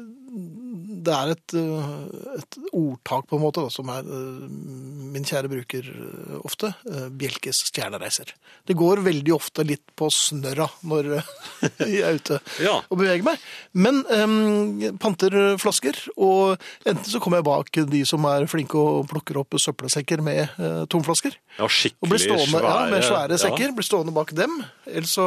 S1: Det er et, eh, et ordtak, på en måte, da, som er eh, min kjære bruker eh, ofte. eh, Bjelkes stjernereiser. Det går veldig ofte litt på snørra når eh, jeg er ute
S2: Ja.
S1: og beveger meg. Men eh, panter flasker, og enten så kommer jeg bak de som er flinke og plukker opp søppelsekker med eh, tomflasker.
S2: Ja, skikkelig
S1: Og blir stående,
S2: svære,
S1: ja, med svære
S2: ja.
S1: sekker, blir stående bak dem. Eller så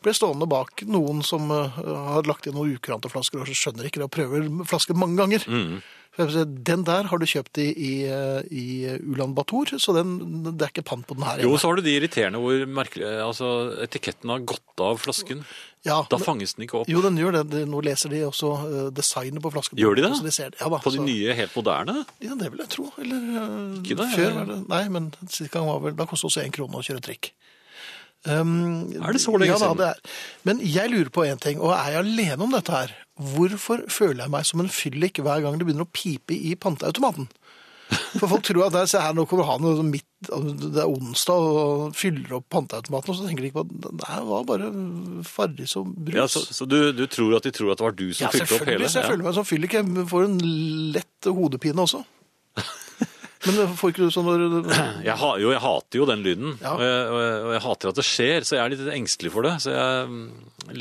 S1: blir stående bak noen som eh, har lagt igjen noen ukurante flasker og skjønner ikke det, og prøver flasker mange ganger.
S2: Mm.
S1: For jeg vil si, Den der har du kjøpt i, i, eh, i Ulan Bator, så den, det er ikke pant på den her.
S2: Jo,
S1: hjemme.
S2: så har du de irriterende hvor merkelig, altså, etiketten har gått av flasken.
S1: ja,
S2: Da
S1: men-
S2: fanges den ikke opp.
S1: jo, den gjør det. Det- Nå leser de også eh, designet på flaskene.
S2: Gjør de det?
S1: Så de ser det. Ja, da,
S2: På de
S1: så-
S2: nye, helt moderne?
S1: Ja, det vil jeg tro. Eller eh,
S2: Ikke det,
S1: før
S2: jeg-
S1: var det Nei, men sist gang var vel Da kostet det også én krone å kjøre trikk. Um,
S2: Er det så lenge
S1: ja, da,
S2: siden?
S1: det er. Men jeg lurer på én ting, og er jeg alene om dette her? Hvorfor føler jeg meg som en fyllik hver gang det begynner å pipe i panteautomaten? For folk tror at der, se her, nå kommer han og midt, altså, det er onsdag og fyller opp panteautomaten, og så tenker de ikke på at det var bare farris og brus.
S2: Ja, så så du, du tror at de tror at det var du som
S1: Ja,
S2: fylte opp hele?
S1: selvfølgelig. Så jeg føler meg som fyllik. Jeg får en lett hodepine også. Men får ikke du sånn når
S2: Jeg, ha, jo, jeg hater jo den lyden,
S1: Ja.
S2: og, jeg, og, jeg, og jeg hater at det skjer, så jeg er litt engstelig for det. Så jeg mm,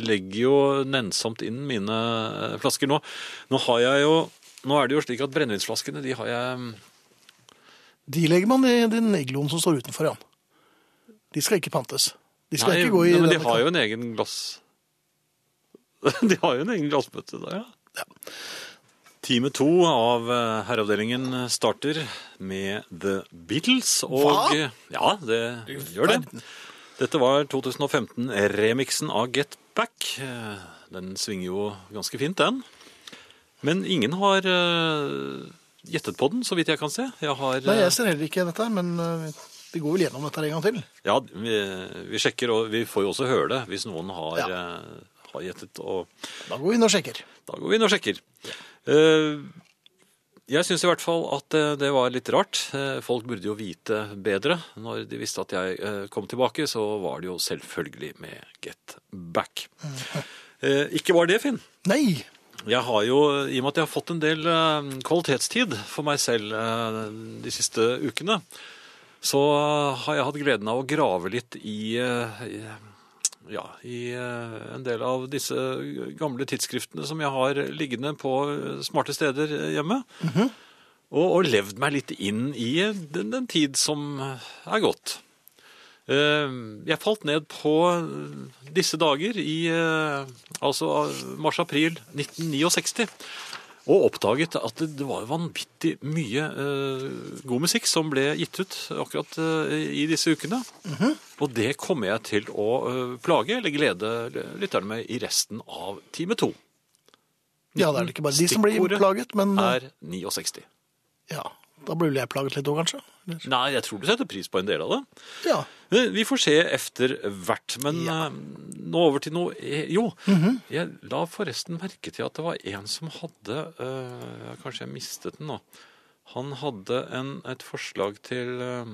S2: legger jo nennsomt inn mine eh, flasker nå. Nå har jeg jo Nå er det jo slik at brennevinsflaskene, de har jeg mm,
S1: De legger man i den egloen som står utenfor, Jan. De skal ikke pantes. De skal
S2: nei,
S1: ikke gå i
S2: nei, Men de
S1: denne
S2: har jo en egen glass De har jo en egen glassbøtte der, ja. Time to av eh, Herreavdelingen starter med The Beatles. Og,
S1: Hva?
S2: Ja, det gjør det. Dette var 2015-remixen av Get Back. Eh, Den svinger jo ganske fint, den. Men ingen har eh, gjettet på den, så vidt jeg kan se. Jeg har,
S1: Nei,
S2: eh,
S1: jeg ser heller ikke dette, her, men eh, vi går vel gjennom dette her en gang til.
S2: ja, vi, vi sjekker, og vi får jo også høre det hvis noen har, eh, har gjettet. Og
S1: Da går vi inn og sjekker.
S2: da går vi inn og sjekker. Eh, jeg syns i hvert fall at eh, det var litt rart. Eh, folk burde jo vite bedre. Når de visste at jeg eh, kom tilbake, så var det jo selvfølgelig med Get Back. Eh, ikke var det, Finn.
S1: Nei!
S2: Jeg har jo, I og med at jeg har fått en del eh, kvalitetstid for meg selv eh, de siste ukene, så har jeg hatt gleden av å grave litt i, eh, i ja, i eh, en del av disse gamle tidsskriftene som jeg har liggende på eh, smarte steder hjemme. og, og levd meg litt inn i den, den tid som er gått. Eh, Jeg falt ned på disse dager i eh, altså mars-april 1969. Og oppdaget at det var vanvittig mye eh, god musikk som ble gitt ut akkurat eh, i disse ukene. Og det kommer jeg til å eh, plage eller glede lytterne med i resten av time to.
S1: Ja, det er vel ikke bare de som blir
S2: Stikkordet
S1: plaget, men eh,
S2: Er 69.
S1: ja, da blir vel jeg plaget litt òg, kanskje. Eller?
S2: Nei, jeg tror du setter pris på en del av det.
S1: Ja.
S2: Eh, Vi får se efter hvert, men eh, nå over til noe eh, Jo, jeg la forresten merke til at det var en som hadde eh, Kanskje jeg mistet den nå. Han hadde en, et forslag til eh,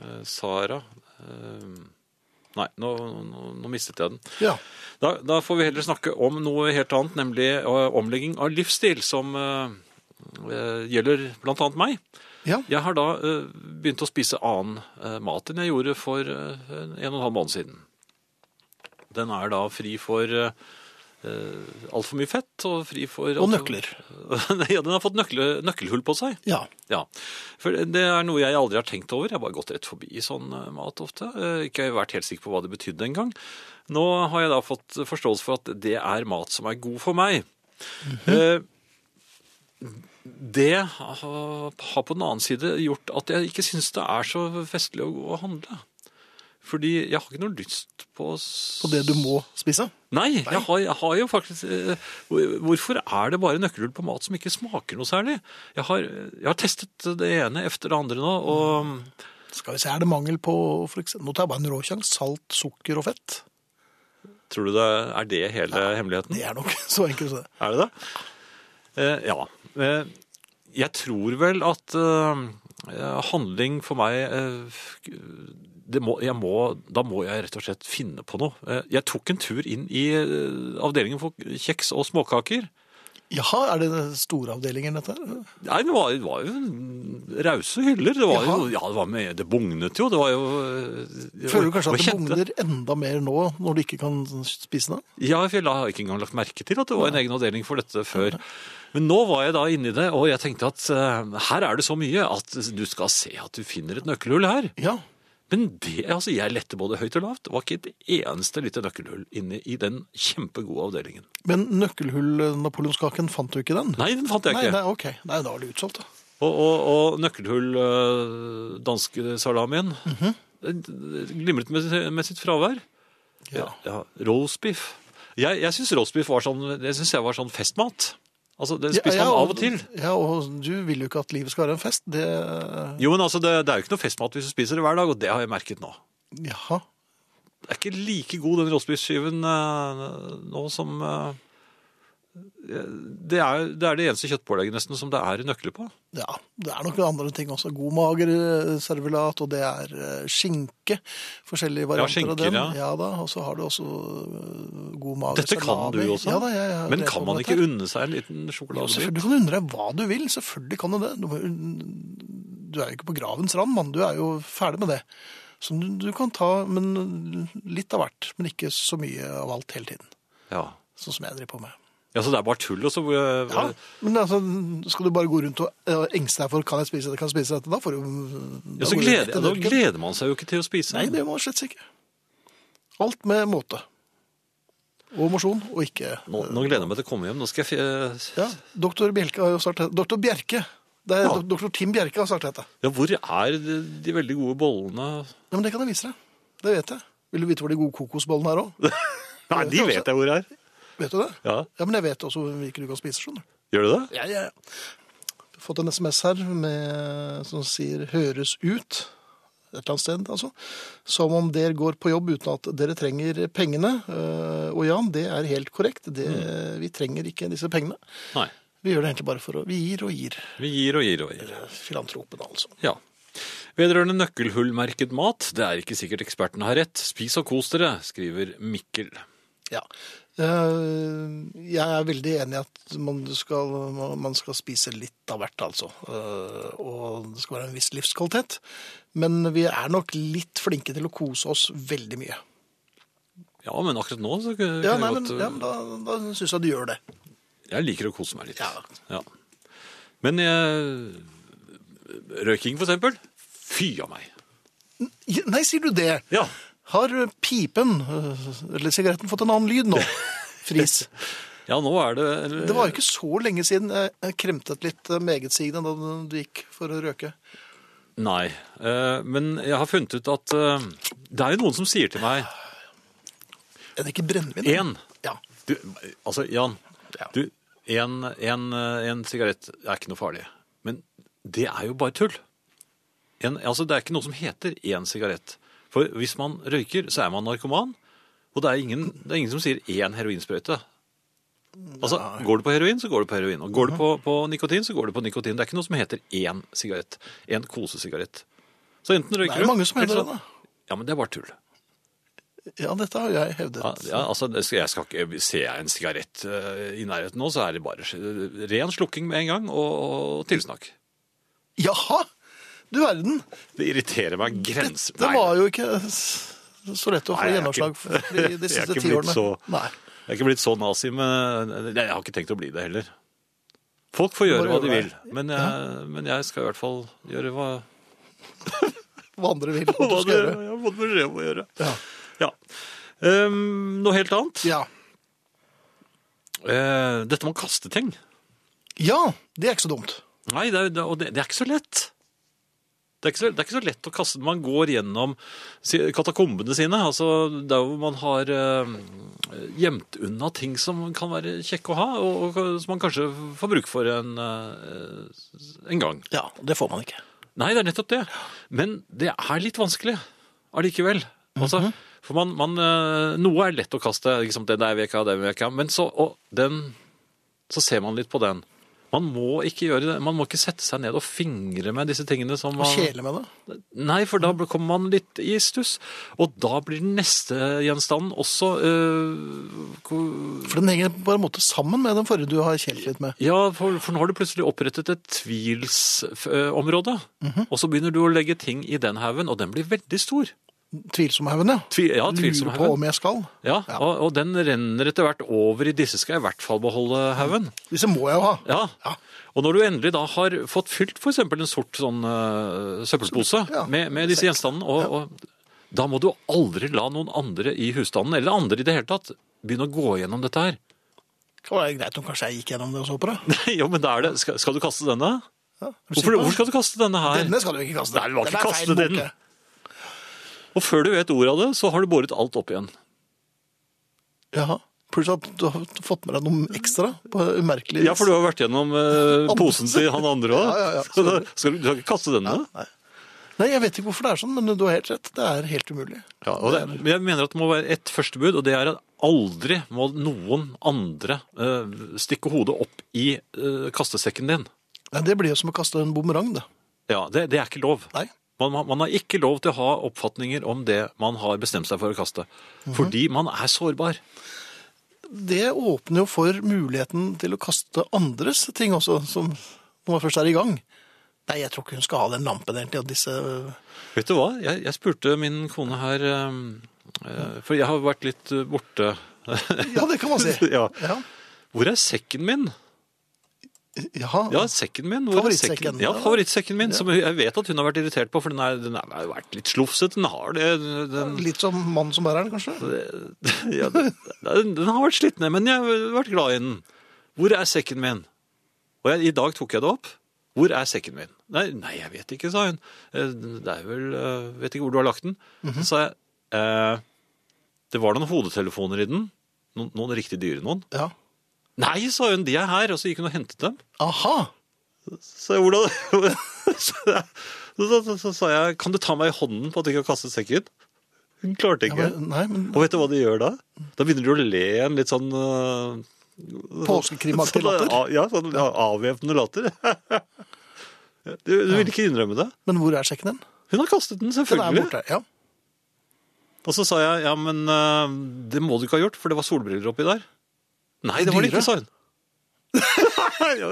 S2: eh, Sara eh, Nei, nå, nå, nå mistet jeg den.
S1: ja.
S2: Da, da får vi heller snakke om noe helt annet, nemlig eh, omlegging av livsstil, som eh, eh, gjelder blant annet meg.
S1: ja.
S2: Jeg har da eh, begynt å spise annen eh, mat enn jeg gjorde for eh, en og en halv måned siden. Den er da fri for uh, altfor mye fett og fri for
S1: Og
S2: alt-
S1: nøkler.
S2: ja, den har fått nøkle, nøkkelhull på seg.
S1: Ja.
S2: Ja, for det er noe jeg aldri har tenkt over. Jeg har bare gått rett forbi sånn eh, mat ofte. Eh, Ikke vært helt sikker på hva det betydde engang. Nå har jeg da fått forståelse for at det er mat som er god for meg.
S1: Mhm.
S2: Eh, Det har har på den annen side gjort at jeg ikke syns det er så festlig å gå og handle. Fordi jeg har ikke noe lyst på s-
S1: På det du må spise.
S2: Nei, jeg har, jeg har jo faktisk eh, hvor- Hvorfor er det bare nøkkelhull på mat som ikke smaker noe særlig? Jeg har, jeg har testet det ene efter det andre nå, og
S1: Skal vi se, er det mangel på for eksempel, Nå tar jeg bare en råsjanse. Salt, sukker og fett.
S2: tror du det er det hele hemmeligheten?
S1: Det er nok så enkelt som det.
S2: Er det det? Eh, ja. Eh, jeg tror vel at eh, eh, handling for meg eh, det må, jeg må, Da må jeg rett og slett finne på noe. Eh, jeg tok en tur inn i eh, avdelingen for kjeks og småkaker.
S1: Jaha, er det store avdelinger, dette? her?
S2: Nei, det var, det var jo rause hyller. Det, var jo,
S1: Jaha.
S2: ja, det, var med, det bugnet jo. Det var jo eh,
S1: Føler du kanskje at
S2: og jeg
S1: det
S2: kjente-
S1: bugner enda mer nå, når du ikke kan spise det?
S2: Ja, for jeg la- har ikke engang lagt merke til at det var en egen avdeling for dette før. Men nå var jeg da inne i det, og jeg tenkte at eh, her er det så mye at du skal se at du finner et nøkkelhull her.
S1: Ja.
S2: Men det, altså, jeg lette både høyt og lavt. Det var ikke et eneste lite nøkkelhull inne i den kjempegode avdelingen.
S1: Men nøkkelhull-napoleonskaken, fant du ikke den?
S2: Nei, den fant jeg
S1: Nei,
S2: ikke.
S1: nei, ok. Nei, da er det utsolgt, da.
S2: Og, og, og nøkkelhull eh, danske salamien
S1: Mhm.
S2: eh, glimret med, med sitt fravær.
S1: Ja.
S2: ja roastbiff. Jeg, jeg syns roastbiff var sånn, det synes jeg var sånn festmat. Altså, det spiste
S1: Ja, ja,
S2: man av og til.
S1: Ja, og du vil jo ikke at livet skal være en fest. Det
S2: Jo, men altså, det, det er jo ikke noe festmat hvis du spiser det hver dag, og det har jeg merket nå.
S1: Jaha.
S2: Det er ikke like god den roastbiffskiven eh, nå som eh, det, er, det er det eneste kjøttpålegget nesten som det er nøkler på.
S1: Ja, det er nok noen andre ting også. God mager eh, servelat, og det er eh, skinke. Forskjellige varianter
S2: skinker,
S1: av den.
S2: ja.
S1: da, og så har du også eh, god mager
S2: Dette kan du
S1: salami.
S2: jo også.
S1: Ja, da, jeg, jeg,
S2: men kan man ikke unne seg en liten
S1: Jo,
S2: sjokoladebit?
S1: selvfølgelig kan du undre deg hva du vil. Selvfølgelig kan du det. Du, må jo- du er jo ikke på gravens rand, mann. Du er jo ferdig med det. Så du, du kan ta men, litt av hvert, men ikke så mye av alt hele tiden.
S2: Ja.
S1: Sånn som jeg driver på med.
S2: ja, så det er bare tull, og så eh,
S1: Ja, men altså, skal du bare gå rundt og eh, engste deg for kan jeg spise det, kan jeg spise dette, da får du
S2: Ja,
S1: går
S2: så
S1: du
S2: gleder,
S1: rett i
S2: da
S1: dørken.
S2: gleder man seg jo ikke til å spise.
S1: Nei, det må man slett ikke. Alt med måte. Og mosjon, og ikke
S2: nå, nå gleder jeg meg til å komme hjem. Nå skal jeg f-
S1: ja, Doktor Bjelke har jo startet Doktor Bjerke! Det er
S2: Ja.
S1: dok- Doktor Tim Bjerke har startet dette.
S2: ja, Hvor er de, de veldig gode bollene
S1: Ja, men det kan jeg vise deg. Det vet jeg. Vil du vite hvor de gode kokosbollene er òg?
S2: Nei, de vet jeg hvor er.
S1: Vet du det?
S2: Ja,
S1: Ja, men jeg vet også hvilke du kan spise, skjønner du.
S2: Gjør du det?
S1: Ja, ja, ja. Fått en SMS her med, som sier 'høres ut' et eller annet sted, altså. Som om dere går på jobb uten at dere trenger pengene. Eh, Og Jan, det er helt korrekt. Det, Vi trenger ikke disse pengene.
S2: Nei.
S1: Vi gjør det egentlig bare for å Vi gir og gir.
S2: Vi gir og gir og gir.
S1: Filantropen, altså.
S2: Ja. Vedrørende nøkkelhullmerket mat, det er ikke sikkert ekspertene har rett. Spis og kos dere, skriver Mikkel.
S1: Ja. Eh, Jeg er veldig enig i at man skal, man skal spise litt av hvert, altså. Eh, Og det skal være en viss livskvalitet. Men vi er nok litt flinke til å kose oss veldig mye.
S2: Ja, men akkurat nå så kunne
S1: Ja,
S2: jeg
S1: nei, men,
S2: godt eh,
S1: ja, men da, da syns jeg du gjør det.
S2: Jeg liker å kose meg litt.
S1: Ja.
S2: Ja. Men jeg, røyking, for eksempel. Fy av meg.
S1: Ja, Nei, sier du det?
S2: Ja.
S1: Har pipen, eh, eller sigaretten, fått en annen lyd nå? Fris.
S2: Ja, nå er det
S1: Det var jo ikke så lenge siden jeg kremtet litt eh, megetsigende da du gikk for å røke.
S2: Nei. eh, Men jeg har funnet ut at eh, det er jo noen som sier til meg
S1: Er det ikke brennevin?
S2: Én.
S1: Ja.
S2: Du, altså, Jan.
S1: Ja.
S2: Du, en, en, en sigarett er ikke noe farlig. Men det er jo bare tull. En, altså, det er ikke noe som heter én sigarett. For hvis man røyker, så er man narkoman. Og det er ingen, det er ingen som sier én heroinsprøyte. Altså, Går du på heroin, så går du på heroin. Og
S1: Mhm.
S2: går du på, på nikotin, så går du på nikotin. Det er ikke noe som heter én sigarett. En kosesigarett. Så enten røyker
S1: Det er
S2: du
S1: mange som
S2: eller
S1: hevder
S2: så-
S1: det, da.
S2: Ja, men det er bare tull.
S1: Ja, dette har jeg hevdet.
S2: Ja, ja, altså, det skal- jeg skal ikke, Ser jeg en sigarett eh, i nærheten nå, så er det bare eh, ren slukking med en gang og, og tilsnakk.
S1: Jaha! Du verden.
S2: Det irriterer meg grenser.
S1: Det var jo ikke så lett å få
S2: Nei, jeg er
S1: gjennomslag
S2: ikke-
S1: for de, de
S2: jeg er
S1: siste
S2: ikke
S1: ti
S2: blitt
S1: årene.
S2: så-
S1: Nei.
S2: Jeg er ikke blitt så nazi, men eh, nei, jeg har ikke tenkt å bli det heller. Folk får
S1: Bare
S2: gjøre hva
S1: gjøre
S2: de vil,
S1: det.
S2: men jeg, men jeg skal i hvert fall gjøre hva,
S1: Hva andre vil at du
S2: hva
S1: skal
S2: det,
S1: gjøre.
S2: jeg har fått beskjed om å gjøre.
S1: Ja.
S2: Ja. Ehm, noe helt annet.
S1: Ja.
S2: Eh, dette med å kaste ting.
S1: ja, det er ikke så dumt.
S2: Nei, det er, det, og det, det er ikke så lett. Det er, ikke så, det er ikke så lett å kaste. Man går gjennom si- katakombene sine, altså der hvor man har eh, gjemt unna ting som kan være kjekke å ha, og, og som man kanskje får bruk for en, eh, en gang.
S1: Ja, det får man ikke.
S2: Nei, det er nettopp det. Men det er litt vanskelig allikevel. Altså,
S1: Mhm.
S2: For man, man, eh, noe er lett å kaste. Liksom, den der veka, den veka. Men så, og den, så ser man litt på den. Man må ikke gjøre det. Man må ikke sette seg ned og fingre med disse tingene. Som
S1: Og
S2: man,
S1: kjele Mm. med det.
S2: Nei, for da kommer man litt i stuss. Og da blir den neste gjenstanden også eh, ko-
S1: For den henger på en måte sammen med den forrige du har kjelt litt med.
S2: Ja, for, for nå har du plutselig opprettet et tvilsområde.
S1: Mhm.
S2: Og så begynner du å legge ting i den haugen, og den blir veldig stor.
S1: Tvilsomhaugen, ja.
S2: Tvi, ja,
S1: Lurer på
S2: tvilsomhaugen.
S1: om jeg skal.
S2: Ja, og, og den renner etter hvert over i disse skal jeg i hvert fall beholde haugen.
S1: Disse må jeg jo ha.
S2: Ja.
S1: Ja.
S2: Og når du endelig da har fått fylt for eksempel en sort sånn eh, søppelpose
S1: Ja.
S2: med, med disse gjenstandene, og, og, da må du aldri la noen andre i husstanden, eller andre i det hele tatt, begynne å gå gjennom dette her.
S1: Det var greit om kanskje jeg gikk gjennom det og så på det.
S2: jo, men da er det, skal, skal du kaste denne?
S1: Ja, er du
S2: Hvorfor,
S1: sikker på
S2: hvorfor
S1: det?
S2: skal du kaste denne her?
S1: Denne skal du ikke kaste.
S2: Nei, du må ikke
S1: Den er
S2: kaste
S1: feil
S2: den.
S1: bunke.
S2: Og før du vet ordet av det, så har du båret alt opp igjen.
S1: Jaha. Plutselig har du har fått med deg noe ekstra på umerkelig vis.
S2: Ja, for du har vært gjennom eh, posen til han andre òg.
S1: Ja, ja, ja.
S2: Så da skal du, du skal ikke kaste denne.
S1: Nei, jeg vet ikke hvorfor det er sånn, men du har helt rett. Det er helt umulig.
S2: Ja, og det, men jeg mener at det må være ett førstebud, og det er at aldri må noen andre eh, stikke hodet opp i eh, kastesekken din.
S1: Nei, det blir jo som å kaste en bumerang, det.
S2: Ja, det, det er ikke lov.
S1: Nei.
S2: Man, man, man har ikke lov til å ha oppfatninger om det man har bestemt seg for å kaste. Fordi man er sårbar.
S1: Det åpner jo for muligheten til å kaste andres ting også, som, når man først er i gang. Nei, jeg tror ikke hun skal ha den lampen egentlig, og disse
S2: Vet du hva? Jeg, jeg spurte min kone her eh, eh, For jeg har vært litt eh, borte.
S1: Ja, det kan man si.
S2: ja.
S1: Ja.
S2: Hvor er sekken min?
S1: Jaha.
S2: Ja, sekken min. Hvor er
S1: Favorittsekken.
S2: sekken? Ja, favorittsekken min, som jeg vet at hun har vært irritert på, for den, er, den er- har vært litt slufset. Den har det. Den,
S1: Litt som mannen som bærer den, kanskje?
S2: ja, den, den har vært slitt ned, men jeg har vært glad i den. Hvor er sekken min? Og jeg, i dag tok jeg det opp. Hvor er sekken min? Nei, nei, jeg vet ikke, sa hun. «Eh, Det er vel eh, Vet ikke hvor du har lagt den. Så sa jeg eh, Det var noen hodetelefoner i den. Noen, noen riktig dyre noen.
S1: Ja.
S2: Nei, sa hun, de er her. Og så gikk hun og hentet dem.
S1: Aha!
S2: Så jeg, hvordan så, jeg- så, så, så sa jeg Kan du ta meg i hånden på at jeg ikke har kastet sekken? Hun klarte
S1: Ja,
S2: ikke.
S1: men, nei, men
S2: Og vet du hva de gjør da? Da begynner de å le en litt sånn øh,
S1: Påskekrimaktig
S2: sånn, øh,
S1: latter.
S2: av- Ja, sånn ja, avvæpnende latter. Du, du vil ikke innrømme det?
S1: Men hvor er sekken din?
S2: Hun har kastet den,
S1: Den er
S2: selvfølgelig.
S1: borte. Ja.
S2: Og så sa jeg ja, men eh, det må du ikke ha gjort, for det var solbriller oppi der. Nei, det var det
S1: Dyre.
S2: ikke, sa hun. ja,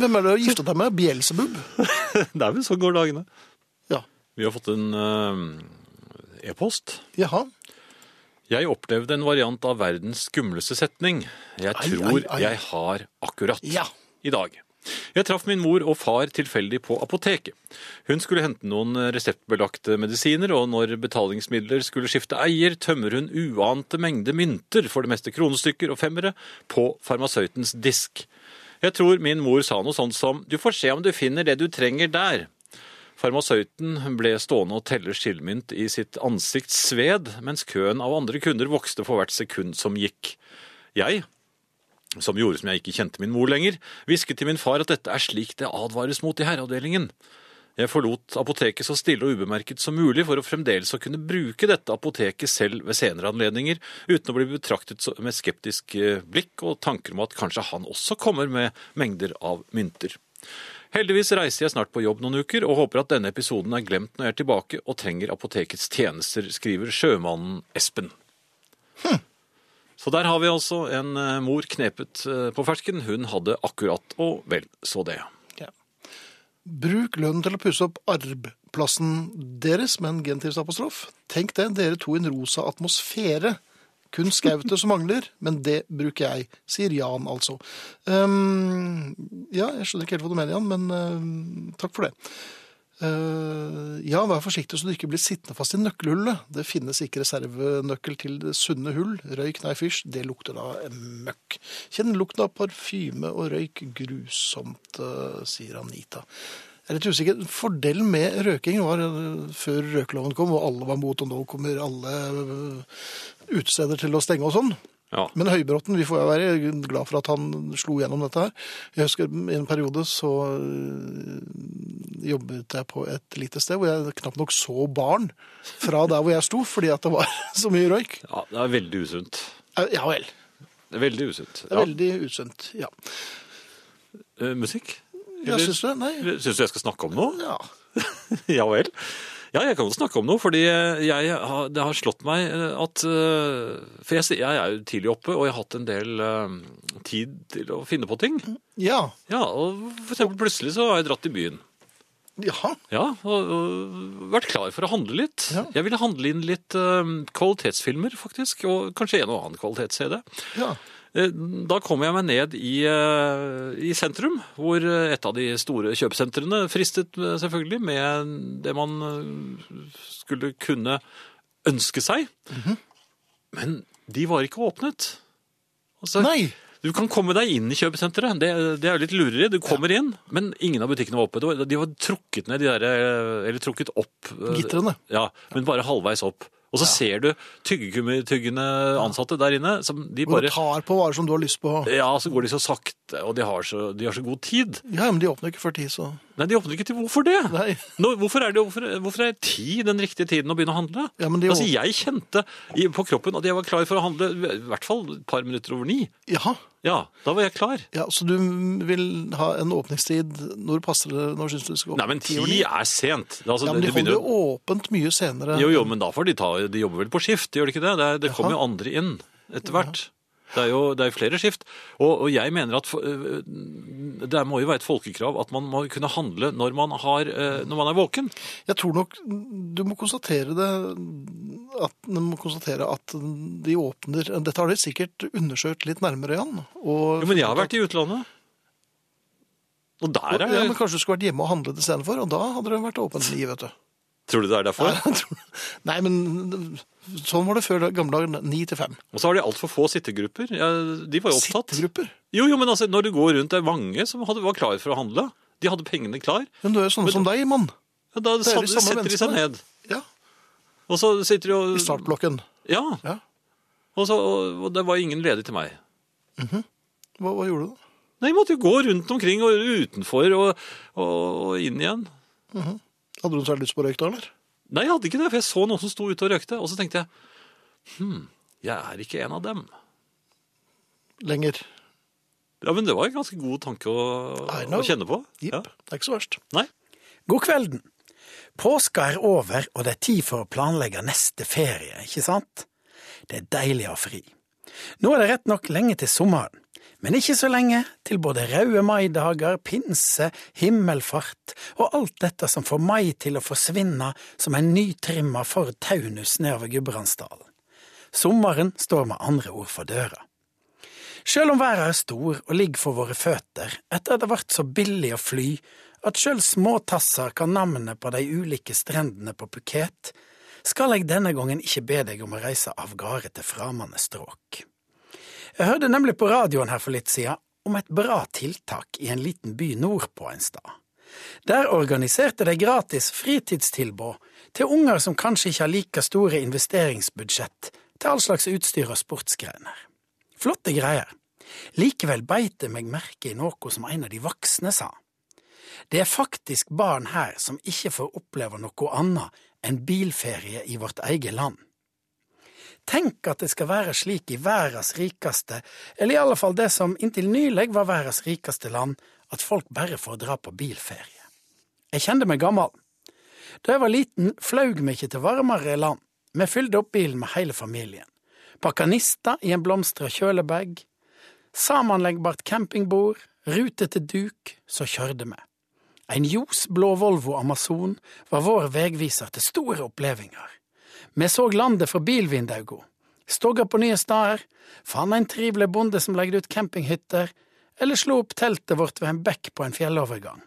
S1: Men hvem er det du har gifta deg med? Bjelzebub?
S2: det er vel sånn går dagene.
S1: Ja.
S2: Vi har fått en eh, e-post.
S1: Jaha.
S2: Jeg opplevde en variant av verdens skumleste setning. Jeg
S1: Ai, ai,
S2: tror
S1: ai.
S2: jeg har akkurat
S1: Ja.
S2: i dag. Jeg traff min mor og far tilfeldig på apoteket. Hun skulle hente noen reseptbelagte medisiner, og når betalingsmidler skulle skifte eier, tømmer hun uante mengder mynter, for det meste kronestykker og femmere, på farmasøytens disk. Jeg tror min mor sa noe sånt som 'du får se om du finner det du trenger der'. Farmasøyten ble stående og telle skillmynt i sitt ansikts sved, mens køen av andre kunder vokste for hvert sekund som gikk. Jeg, som gjorde som jeg ikke kjente min mor lenger, hvisket til min far at dette er slik det advares mot i herreavdelingen. Jeg forlot apoteket så stille og ubemerket som mulig for å fremdeles å kunne bruke dette apoteket selv ved senere anledninger, uten å bli betraktet så- med skeptisk eh, blikk og tanker om at kanskje han også kommer med mengder av mynter. Heldigvis reiser jeg snart på jobb noen uker, og håper at denne episoden er glemt når jeg er tilbake og trenger apotekets tjenester, skriver sjømannen Espen. Så der har vi altså en eh, mor knepet eh, på fersken. Hun hadde akkurat og vel så det.
S1: ja. Bruk lønnen til å pusse opp arbeidsplassen deres med en gentivsapostrof. Tenk det, dere to i en rosa atmosfære. Kun skautet som mangler, men det bruker jeg, sier Jan altså. Ehm, ja, jeg skjønner ikke helt hva du mener, Jan, men ehm, takk for det. Eh, ja, vær forsiktig så du ikke blir sittende fast i nøkkelhullet. Det finnes ikke reservenøkkel til det sunne hull. Røyk, nei, fysj, det lukter da møkk. Kjenn lukten av parfyme og røyk grusomt, eh, sier Anita. Jeg er litt usikker. Fordelen med røking var eh, før røkeloven kom, og alle var mot, og nå kommer alle eh, utesteder til å stenge og sånn.
S2: Ja.
S1: Men Høybråten, vi får jo være glad for at han slo gjennom dette her. Jeg husker i en periode så øh, jobbet jeg på et lite sted hvor jeg knapt nok så barn fra der hvor jeg sto, fordi at det var så mye røyk. Eh,
S2: ja, det er veldig usunt.
S1: Ja vel.
S2: Det er veldig usunt.
S1: Det er
S2: Ja.
S1: veldig usunt. Ja.
S2: Eh, musikk?
S1: ja syns du det? Nei.
S2: Syns du jeg skal snakke om noe?
S1: Ja.
S2: ja vel. Ja, jeg kan jo snakke om noe, fordi eh, jeg har, det har slått meg eh, at eh, For jeg, s- jeg er jo tidlig oppe, og jeg har hatt en del eh, tid til å finne på ting.
S1: ja.
S2: Ja, og for eksempel plutselig så har jeg dratt i byen.
S1: Jaha.
S2: Ja, og, og vært klar for å handle litt.
S1: Ja.
S2: Jeg ville handle inn litt eh, kvalitetsfilmer, faktisk, og kanskje en og annen kvalitets-CD.
S1: Ja.
S2: Eh, Da kom jeg meg ned i, eh, i sentrum, hvor eh, et av de store kjøpesentrene fristet eh, selvfølgelig med det man eh, skulle kunne ønske seg. Men de var ikke åpnet. Altså,
S1: Nei.
S2: du kan komme deg inn i kjøpesenteret. Det, det er jo litt lureri. Du kommer inn, men ingen av butikkene var oppe. Det var- De var trukket ned, de der, eh, eller trukket opp. eh,
S1: Gitrene.
S2: Ja, men bare halvveis opp. Og så ser du tyggegummi-tyggende ansatte der inne. som de
S1: Hvor
S2: bare...
S1: du tar på varer som du har lyst på.
S2: Ja, så går de så sakte, og de har så, de har så god tid.
S1: Ja, men de åpner ikke før ti, så
S2: Nei, de åpner ikke til hvorfor det?
S1: Nei.
S2: Nå, hvorfor, er det, hvorfor, hvorfor er ti den riktige tiden å begynne å handle?
S1: Ja, men de-
S2: altså, jeg kjente i, på kroppen at jeg var klar for å handle i hvert fall et par minutter over ni.
S1: Jaha.
S2: Ja, da var jeg klar.
S1: Ja, så du vil ha en åpningstid når passer det? Når syns du det skal åpne?
S2: Nei, men
S1: over
S2: ti
S1: ni?
S2: er sent. Altså,
S1: Ja, men de
S2: det begynner
S1: holder
S2: jo-
S1: jo åpent mye senere.
S2: Jo, jo, men da får de ta De jobber vel på skift, gjør de ikke det? Det, er- det kommer jo andre inn etter hvert. Det er jo det er jo flere skift. Og, og jeg mener at for- øh, det må jo være et folkekrav at man må kunne handle når man, har, øh, når man er våken.
S1: Jeg tror nok du må konstatere det at, du må konstatere at de åpner Dette har de sikkert undersøkt litt nærmere, Jan. Og,
S2: Jo, men jeg har vært i utlandet. Og der er
S1: ja, men
S2: jeg.
S1: Kanskje du skulle vært hjemme og handlet istedenfor, og da hadde det vært åpent ni, vet du.
S2: Tror du det er derfor?
S1: Jeg tror- Nei, men sånn var det før i gamle dager. Ni til fem.
S2: Og så har de altfor få sittegrupper. Ja, de var jo opptatt.
S1: Sittegrupper.
S2: Jo, jo, men altså, når du går rundt, det er mange som hadde, var klare for å handle. De hadde pengene klar.
S1: Men du er jo sånn som deg, mann.
S2: Ja, da
S1: er de samme
S2: satt- setter de seg
S1: menneskene.
S2: ned.
S1: Ja,
S2: Og så sitter de og
S1: I startblokken.
S2: Ja.
S1: Ja.
S2: Og, så, og, og det var ingen ledig til meg.
S1: Hva, hva gjorde du da?
S2: Nei, jeg måtte jo gå rundt omkring og utenfor og, og, og inn igjen.
S1: Hadde du noe særlig lyst på røyk da, eller?
S2: Nei, jeg hadde ikke det, for jeg så noen som sto ute og røykte. Og så tenkte jeg hm, jeg er ikke en av dem.
S1: Lenger.
S2: Ja, Men det var en ganske god tanke å,
S1: I know.
S2: å kjenne på.
S1: Jipp.
S2: Ja.
S1: Det er ikke så verst.
S2: Nei.
S4: God kvelden. Påska er over, og det er tid for å planlegge neste ferie, ikke sant? Det er deilig å ha fri. Nå er det rett nok lenge til sommeren, men ikke så lenge til både røde maidager, pinse, himmelfart og alt dette som får mai til å forsvinne som en nytrimma for taunus nedover Gudbrandsdalen. Sommeren står med andre ord for døra. Sjøl om verda er stor og ligger for våre føtter, etter at det ble så billig å fly at sjøl småtasser kan navnet på de ulike strendene på Phuket, skal jeg denne gangen ikke be deg om å reise av gårde til framande strøk. Jeg hørte nemlig på radioen her for litt siden om et bra tiltak i en liten by nordpå en stad. Der organiserte de gratis fritidstilbud til unger som kanskje ikke har like store investeringsbudsjett til all slags utstyr og sportsgreiner. Flotte greier. Likevel beit jeg meg merke i noe som en av de voksne sa. Det er faktisk barn her som ikke får oppleve noe annet enn bilferie i vårt eget land. Tenk at det skal være slik i verdens rikeste, eller i alle fall det som inntil nylig var verdens rikeste land, at folk bare får dra på bilferie. Jeg kjente meg gammel. Da jeg var liten, flaug vi ikke til varmere land. Vi fylte opp bilen med hele familien. Pakka nister i en blomstra kjølebag. Sammenleggbart campingbord, rute til duk, så kjørte vi. En ljosblå Volvo Amazon var vår vegviser til store opplevelser. Vi så landet fra bilvinduene, stogga på nye steder, fant en trivelig bonde som legde ut campinghytter, eller slo opp teltet vårt ved en bekk på en fjellovergang.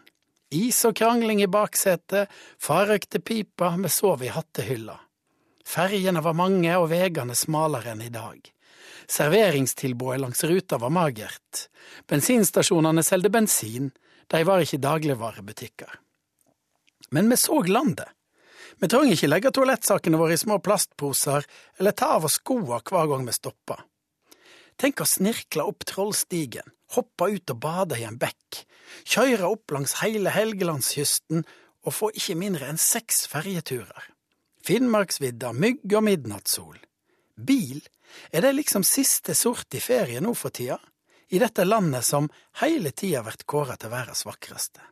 S4: Is og krangling i baksetet, far røykte pipa, vi sov i hattehylla. Ferjene var mange og veiene smalere enn i dag. Serveringstilbudet langs ruta var magert. Bensinstasjonene solgte bensin, de var ikke dagligvarebutikker. Men vi så landet. Vi trenger ikke legge toalettsakene våre i små plastposer eller ta av oss skoene hver gang vi stopper. Tenk å snirkle opp Trollstigen, hoppe ut og bade i en bekk, kjøre opp langs hele Helgelandskysten og få ikke mindre enn seks ferjeturer. Finnmarksvidda, mygg og midnattssol. Bil, er det liksom siste sort i ferie nå for tida? i dette landet som hele tida blir kåra til verdens vakreste.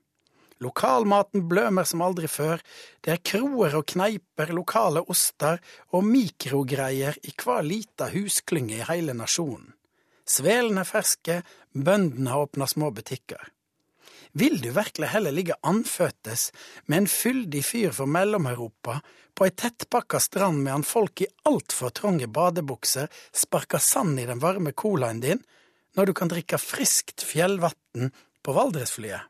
S4: Lokalmaten blømer som aldri før, det er kroer og kneiper, lokale oster og mikrogreier i hver lita husklynge i hele nasjonen. Svelene er ferske, bøndene har åpna små butikker. Vil du virkelig heller ligge andføttes med en fyldig fyr fra Mellom-Europa på ei tettpakka strand medan folk i altfor trange badebukser sparker sand i den varme colaen din, når du kan drikke friskt fjellvann på Valdresflyet?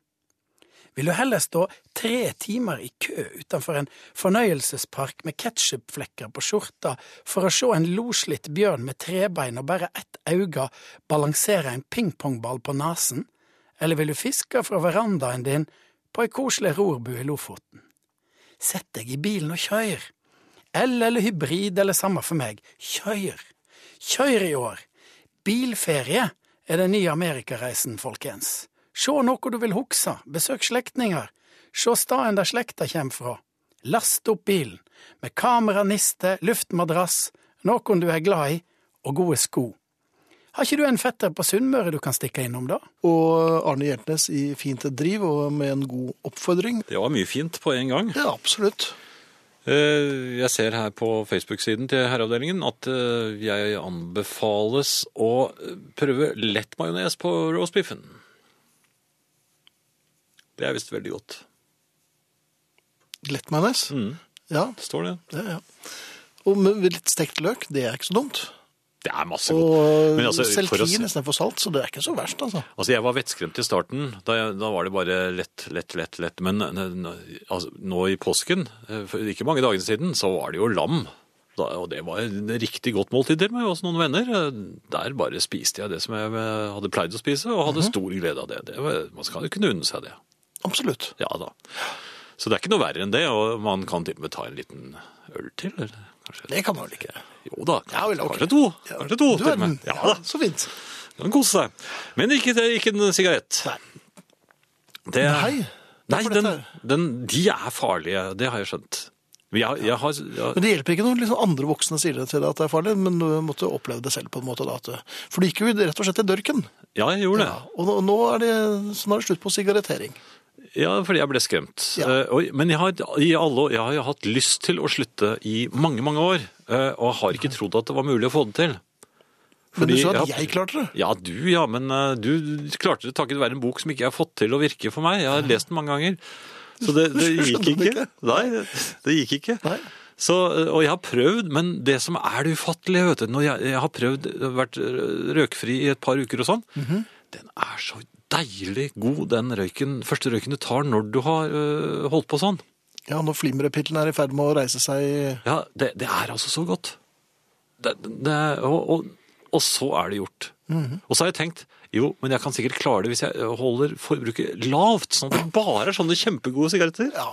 S4: Vil du heller stå tre timer i kø utenfor en fornøyelsespark med ketsjupflekker på skjorta for å se en loslitt bjørn med trebein og bare ett øye balansere en pingpongball på nesen, eller vil du fiske fra verandaen din på ei koselig rorbu i Lofoten? Sett deg i bilen og kjør! El eller hybrid eller samme for meg, kjør! Kjør i år! Bilferie! er den nye amerikareisen, folkens. Se noe du vil huske, besøk slektninger, se staden der slekta kommer fra. Last opp bilen, med kamera, niste, luftmadrass, noen du er glad i, og gode sko. Har ikke du en fetter på Sunnmøre du kan stikke innom, da?
S1: Og Arne Hjertnes i fint driv og med en god oppfordring.
S2: Det var mye fint på en gang.
S1: Ja, absolutt.
S2: Eh, Jeg ser her på Facebook-siden til herreavdelingen at eh, jeg anbefales å eh, prøve lett majones på roastbiffen. Det er visst veldig godt.
S1: Lett majones.
S2: Mm,
S1: Ja,
S2: det står det.
S1: det, ja. Og med litt stekt løk, det er ikke så dumt.
S2: Det er masse godt.
S1: Og
S2: Men altså, for å se-
S1: seltin istedenfor salt, så det er ikke så verst, altså.
S2: Altså, jeg var vettskremt i starten. Da, jeg, da var det bare lett, lett, lett, lett. Men eh, n- altså, nå i påsken, eh, for ikke mange dagene siden, så var det jo lam. Da, og det var en riktig godt måltid til med oss noen venner. Eh, Der bare spiste jeg det som jeg eh, hadde pleid å spise, og
S1: Mhm.
S2: hadde stor glede av det. det var, man skal jo kunne unne seg det.
S1: Absolutt.
S2: Ja da. Så det er ikke noe verre enn det, og man kan til og med ta en liten øl til, eller kanskje
S1: Det kan man vel ikke.
S2: Jo da,
S1: Ja, vel, ok.
S2: kanskje to. Kanskje to,
S1: Du
S2: til og
S1: verden.
S2: med.
S1: Ja,
S2: Ja da.
S1: så fint.
S2: Kan kose seg. Men ikke, ikke en sigarett.
S1: Nei.
S2: Det,
S1: Nei,
S2: Nei,
S1: for
S2: den,
S1: dette
S2: den, de er farlige, det har jeg skjønt. Men Jeg, jeg har, jeg,
S1: Men det hjelper ikke når liksom andre voksne sier det til deg at det er farlig, men du måtte oppleve det selv på en måte. Da, at det- for du gikk jo rett og slett til dørken.
S2: ja, jeg gjorde det.
S1: Ja, og nå- nå er det, sånn er det slutt på sigarettering.
S2: Ja, fordi jeg ble skremt.
S1: Ja.
S2: Eh, og- Men jeg har, i alle, år- jeg har jo hatt lyst til å slutte i mange, mange år, eh, og har ikke trodd at det var mulig å få det til.
S1: Men du
S2: Fordi
S1: sa at
S2: jeg-
S1: jeg klarte det.
S2: Ja, du ja, men eh, du klarte det takket være en bok som ikke jeg har fått til å virke for meg. Jeg har lest den mange ganger. Så det, det
S1: Skjønner
S2: gikk
S1: du
S2: ikke.
S1: ikke?
S2: Nei, det gikk ikke.
S1: Nei.
S2: Så, eh, og jeg har prøvd, men det som er det ufattelige, vet du, når jeg, jeg har prøvd, eh, vært røkfri i et par uker og sånn,
S1: Mhm.
S2: den er så deilig god, den røyken, første røyken du tar når du har eh, holdt på sånn.
S1: Ja, når flimmerepillen er i ferd med å reise seg
S2: Ja, det, det er altså så godt. Det, det, og, og, og så er det gjort. Og så har jeg tenkt, jo, men jeg kan sikkert klare det hvis jeg holder forbruket lavt, sånn at det bare er sånne kjempegode sigaretter.
S1: Ja,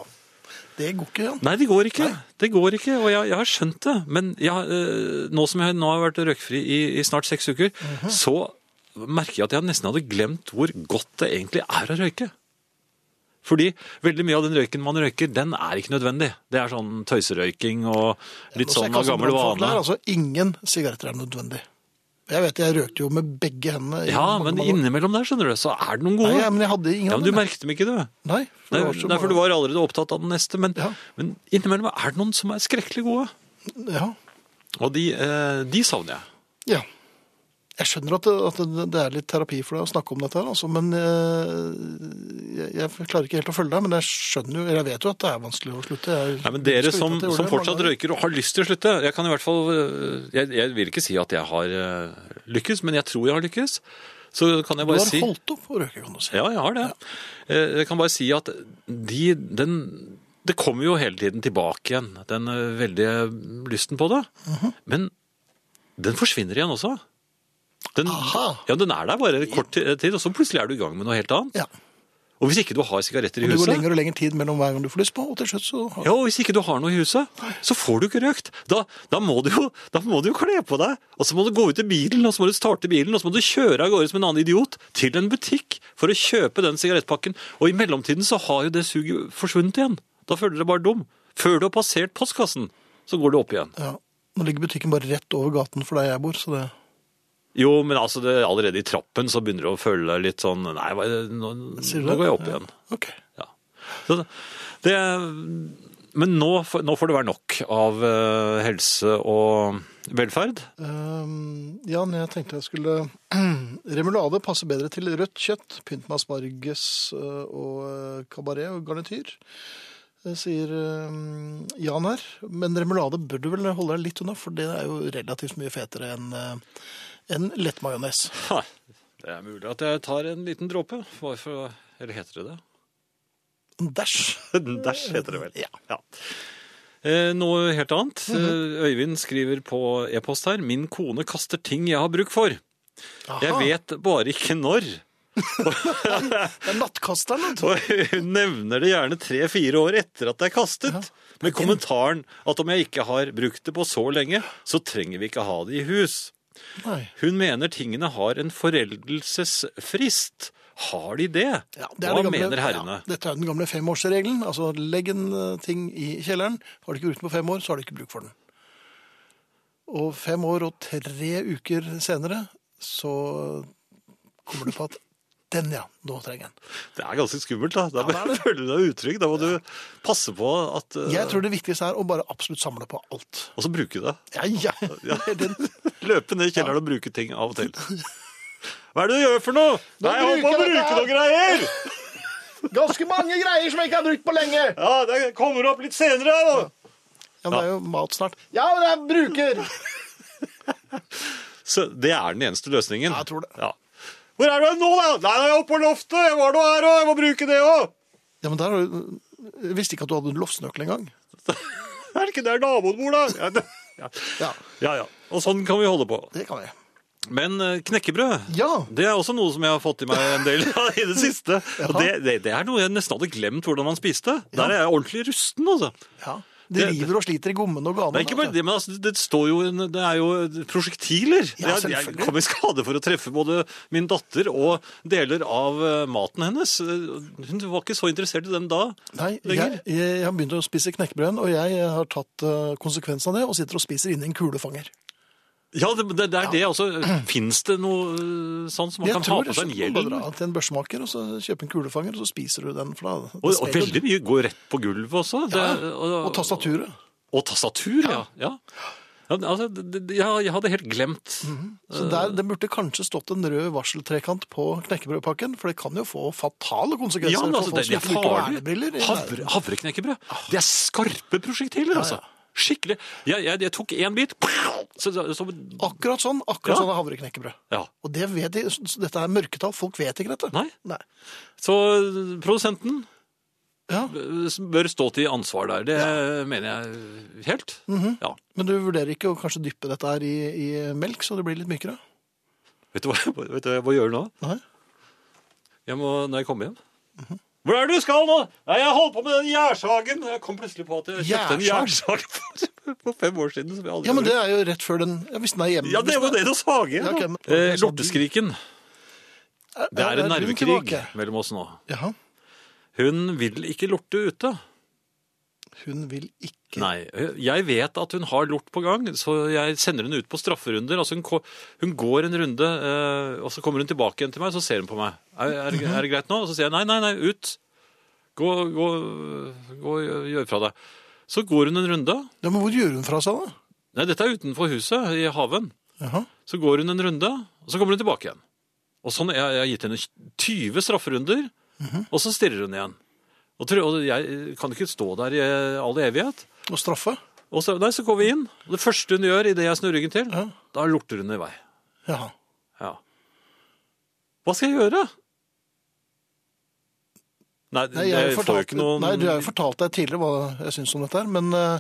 S1: det går ikke an.
S2: Nei, det går ikke. Det går ikke, og jeg, jeg har skjønt det. Men jeg, eh, nå som jeg nå har vært røykfri i, i snart seks uker,
S1: Mhm.
S2: så merker jeg at jeg nesten hadde glemt hvor godt det egentlig er å røyke. Fordi veldig mye av den røyken man røyker, den er ikke nødvendig. Det er sånn tøyserøyking og
S1: Nå skal jeg
S2: litt sånn
S1: ikke
S2: av
S1: ha
S2: gammel
S1: brannfakler,
S2: vane.
S1: Altså, ingen sigaretter er nødvendig. Jeg vet, jeg røkte jo med begge hendene. i
S2: Ja,
S1: mange,
S2: men
S1: mange år.
S2: innimellom der, skjønner du, så er det noen gode.
S1: Nei, ja, men jeg hadde ingen
S2: Ja,
S1: av
S2: men du
S1: dem.
S2: merket dem ikke, du.
S1: Nei, for
S2: Nei,
S1: det var så
S2: nei, for du
S1: mange-
S2: var allerede opptatt av den neste, men,
S1: Ja.
S2: men innimellom er det noen som er skrekkelig gode.
S1: Ja.
S2: Og de, eh, de savner jeg.
S1: Ja. Jeg skjønner at det, at det- det er litt terapi for deg å snakke om dette, her, altså, men eh, jeg, jeg klarer ikke helt å følge deg. Men jeg skjønner jo, eller jeg vet jo at det er vanskelig å slutte. Jeg,
S2: Nei, men Dere
S1: skulle
S2: som,
S1: ikke at jeg gjorde
S2: som
S1: det,
S2: fortsatt
S1: men-
S2: røyker og har lyst til å slutte Jeg kan i hvert fall, øh, jeg, jeg vil ikke si at jeg har øh, lykkes, men jeg tror jeg har lykkes. Så kan jeg
S1: Du
S2: bare
S1: har
S2: si
S1: holdt opp å røyke, kan du si.
S2: Ja, jeg har det. Eh, Jeg kan bare si at de, den, det kommer jo hele tiden tilbake igjen, den eh, veldige lysten på det.
S1: Mhm.
S2: Men den forsvinner igjen også. Den,
S1: Aha.
S2: ja, den er der bare kort ti- tid, og så plutselig er du i gang med noe helt annet.
S1: Ja.
S2: Og hvis ikke du har sigaretter i
S1: Det går
S2: huset
S1: lengre og lengre tid mellom hver gang du får lyst på, og til slutt så har
S2: ja, og hvis ikke du har noe i huset, så får du ikke røkt. Da, da, må du jo, da må du jo kle på deg, og så må du gå ut i bilen, og så må du starte bilen, og så må du kjøre av gårde som en annen idiot til en butikk for å kjøpe den sigarettpakken. Og i mellomtiden så har jo det suget forsvunnet igjen. Da føler du deg bare dum. Før du har passert postkassen, så går du opp igjen.
S1: ja. Nå ligger butikken bare rett over gaten for der jeg bor, så det
S2: Jo, men altså, det, allerede i trappen så begynner du å føle deg litt sånn Nei, hva, er det- nå,
S1: Sier du
S2: nå
S1: det?
S2: går jeg opp igjen.
S1: OK.
S2: Ja. Så det, men nå, får- nå får det være nok av eh, helse og velferd.
S1: Ehm, Jan, jeg tenkte jeg skulle Remulade passer bedre til rødt kjøtt, pynt med asparges eh, og eh, kabaret og garnityr. Det sier ehm, Jan her. Men remulade bør du vel holde deg litt unna, for det er jo relativt mye fetere enn eh, enn lettmajones.
S2: Ha, det er mulig at jeg tar en liten dråpe. Hvorfor, eller heter det det?
S1: En Dæsj.
S2: En Dæsj heter det vel. Ja. Eh, Noe helt annet. Eh, Øyvind skriver på e-post her. Min kone kaster ting jeg har bruk for. Jeg
S1: Aha,
S2: vet bare ikke når.
S1: Det er nattkasteren, vet du.
S2: Og hun nevner det gjerne tre-fire år etter at det er kastet. Med kommentaren at om jeg ikke har brukt det på så lenge, så trenger vi ikke ha det i hus.
S1: Nei.
S2: Hun mener tingene har en foreldelsesfrist. Har de det?
S1: Ja, det er
S2: Hva
S1: den gamle-
S2: mener herrene?
S1: Ja, dette er den gamle femårsregelen. Altså, legg en eh, ting i kjelleren. Har du ikke brukt den på fem år, så har du ikke bruk for den. Og fem år og tre uker senere så kommer du på at den, ja, nå trenger jeg den.
S2: Det er ganske skummelt, da. Da
S1: Ja, det er det.
S2: føler du deg utrygg. Da må du passe på at eh,
S1: Jeg tror det viktigste er å bare absolutt samle på alt.
S2: Og så bruke det.
S1: Ja, ja. Den,
S2: Løpe ned i kjelleren og bruke ting av og til. Hva er det du gjør for noe? Nei, jeg holder på å
S1: bruker jeg
S2: bruke noen greier!
S1: ganske mange greier som jeg ikke har brukt på lenge!
S2: Ja, det kommer opp litt senere. Da.
S1: Ja, men det er jo mat snart. Ja, men jeg bruker!
S2: Så det er den eneste løsningen?
S1: Ja, jeg tror det.
S2: Ja. Hvor er du nå, da? Nei, jeg er oppe på loftet. Jeg var nå her òg. Jeg må bruke det òg.
S1: Ja, men der, har du- jeg visste ikke at du hadde en loftsnøkkel engang.
S2: Er det ikke der naboen bor, da? Ja, det- Ja.
S1: Ja,
S2: ja, ja. Og sånn kan vi holde på.
S1: det kan jeg.
S2: Men eh, knekkebrød
S1: Ja.
S2: det er også noe som jeg har fått i meg en del av i det siste. Og det, det, det er noe jeg nesten hadde glemt hvordan man spiste. Der er jeg ordentlig rusten, altså.
S1: Ja. De
S2: Det-
S1: river og sliter i gommene og ganen.
S2: Det er ikke
S1: vet
S2: bare
S1: du.
S2: det, men altså, det, står jo en, det er jo prosjektiler.
S1: Ja,
S2: Jeg- jeg
S1: selvfølgelig.
S2: kom i skade for å treffe både min datter og deler av eh, maten hennes. Eh, Hun var ikke så interessert i dem da.
S1: Nei, jeg,
S2: lenger.
S1: jeg, jeg har eh, begynt å spise knekkebrød, og jeg har tatt eh, konsekvensen av det og sitter og spiser inni en kulefanger.
S2: Ja, det, det det er det. altså. Fins det noe øh, sånn som man
S1: Jeg
S2: kan ha
S1: tror
S2: på
S1: det
S2: seg en
S1: er
S2: hjelm?
S1: bare dra til en børsmaker og så kjøpe en kulefanger, og så spiser du den. For da,
S2: Og, og veldig mye går rett på gulvet også. Det,
S1: Ja, Og tastaturet.
S2: Og tastatur, ja. ja. ja men altså, det, det- ja, jeg hadde helt glemt.
S1: Mm. Så
S2: Eh.
S1: der, Det burde kanskje stått en rød varseltrekant på knekkebrødpakken, for det kan jo få fatale konsekvenser
S2: Ja, men altså,
S1: for folk
S2: det,
S1: som
S2: det
S1: ikke
S2: er
S1: bruker
S2: farlig.
S1: vernebriller. i
S2: Havre, havreknekkebrød.
S1: Ah.
S2: Det er skarpe prosjektiler, altså. Skikkelig. Jeg, jeg, jeg tok én bit, så, så, så
S1: Akkurat sånn akkurat
S2: Ja.
S1: sånn er havreknekkebrød.
S2: Ja.
S1: Og det vet de, så dette er mørketall, folk vet ikke dette.
S2: Nei. Så produsenten
S1: Ja,
S2: bør stå til ansvar der. Det mener jeg helt.
S1: Mhm.
S2: Ja.
S1: Men du vurderer ikke å kanskje dyppe dette her i, i melk, så det blir litt mykere?
S2: Vet du, hva, vet du hva jeg må gjøre nå?
S1: Nei.
S2: Jeg må, når jeg kommer hjem.
S1: Mhm.
S2: Hvor er det du skal nå? Nei, Jeg holdt på med den gjærsagen. Jeg kom plutselig på at jeg kjøpte en
S1: Gjærsag?
S2: gjærsag for, for fem år siden. Som jeg aldri
S1: Ja, men
S2: brukte.
S1: det er jo rett før den ja, Hvis den er hjemme.
S2: ja, det var det du sager.
S1: Ja, ok, men-
S2: eh, lorteskriken. Det er en nervekrig mellom oss nå.
S1: Ja,
S2: Hun vil ikke lorte ute.
S1: hun vil ikke
S2: Nei, jeg vet at hun har lort på gang, så jeg sender henne ut på strafferunder. Altså hun, ko- hun går en runde, eh, og så kommer hun tilbake igjen til meg, så ser hun på meg. Er, er, det- er det greit nå? Og så sier jeg nei, nei, nei, ut. Gå, gå, gå gjør fra deg. Så går hun en runde.
S1: Ja, Men hvor gjør hun fra seg, da?
S2: Nei, dette er utenfor huset, i haven.
S1: Jaha.
S2: Så går hun en runde, og så kommer hun tilbake igjen. Og sånn, jeg, jeg har gitt henne 20 strafferunder,
S1: Mhm.
S2: og så stirrer hun igjen. Og, tror- og jeg kan ikke stå der i all evighet.
S1: Og straffe?
S2: Og så, nei, så går vi inn, og det første hun gjør idet jeg snur ryggen til,
S1: Ja.
S2: da lorter hun i vei.
S1: Jaha.
S2: Ja. Hva skal jeg gjøre? Nei,
S1: Nei, jeg,
S2: jeg,
S1: har jo
S2: får jo
S1: fortalt,
S2: ikke noen
S1: nei, du har jo fortalt deg tidligere hva jeg syns om dette her, men eh,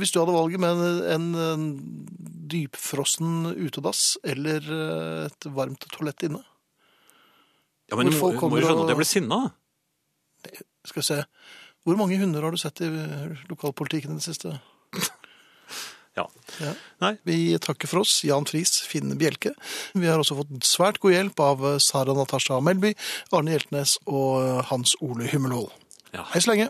S1: hvis du hadde valget med en, en, eh, dypfrossen utedass eller eh, et varmt toalett inne
S2: ja, men,
S1: hvor folk
S2: Hun må
S1: kommer
S2: jo skjønne
S1: og-
S2: at jeg blir sinna.
S1: Skal vi se Hvor mange hunder har du sett i eh, lokalpolitikken i det siste?
S2: Ja.
S1: Ja.
S2: Nei.
S1: Vi takker for oss, Jan Friis, Finn Bjelke. Vi har også fått svært god hjelp av Sara Natasha Melby, Arne Hjeltnes og Hans Ole Hummelvold.
S2: Ja.
S1: Hei så lenge!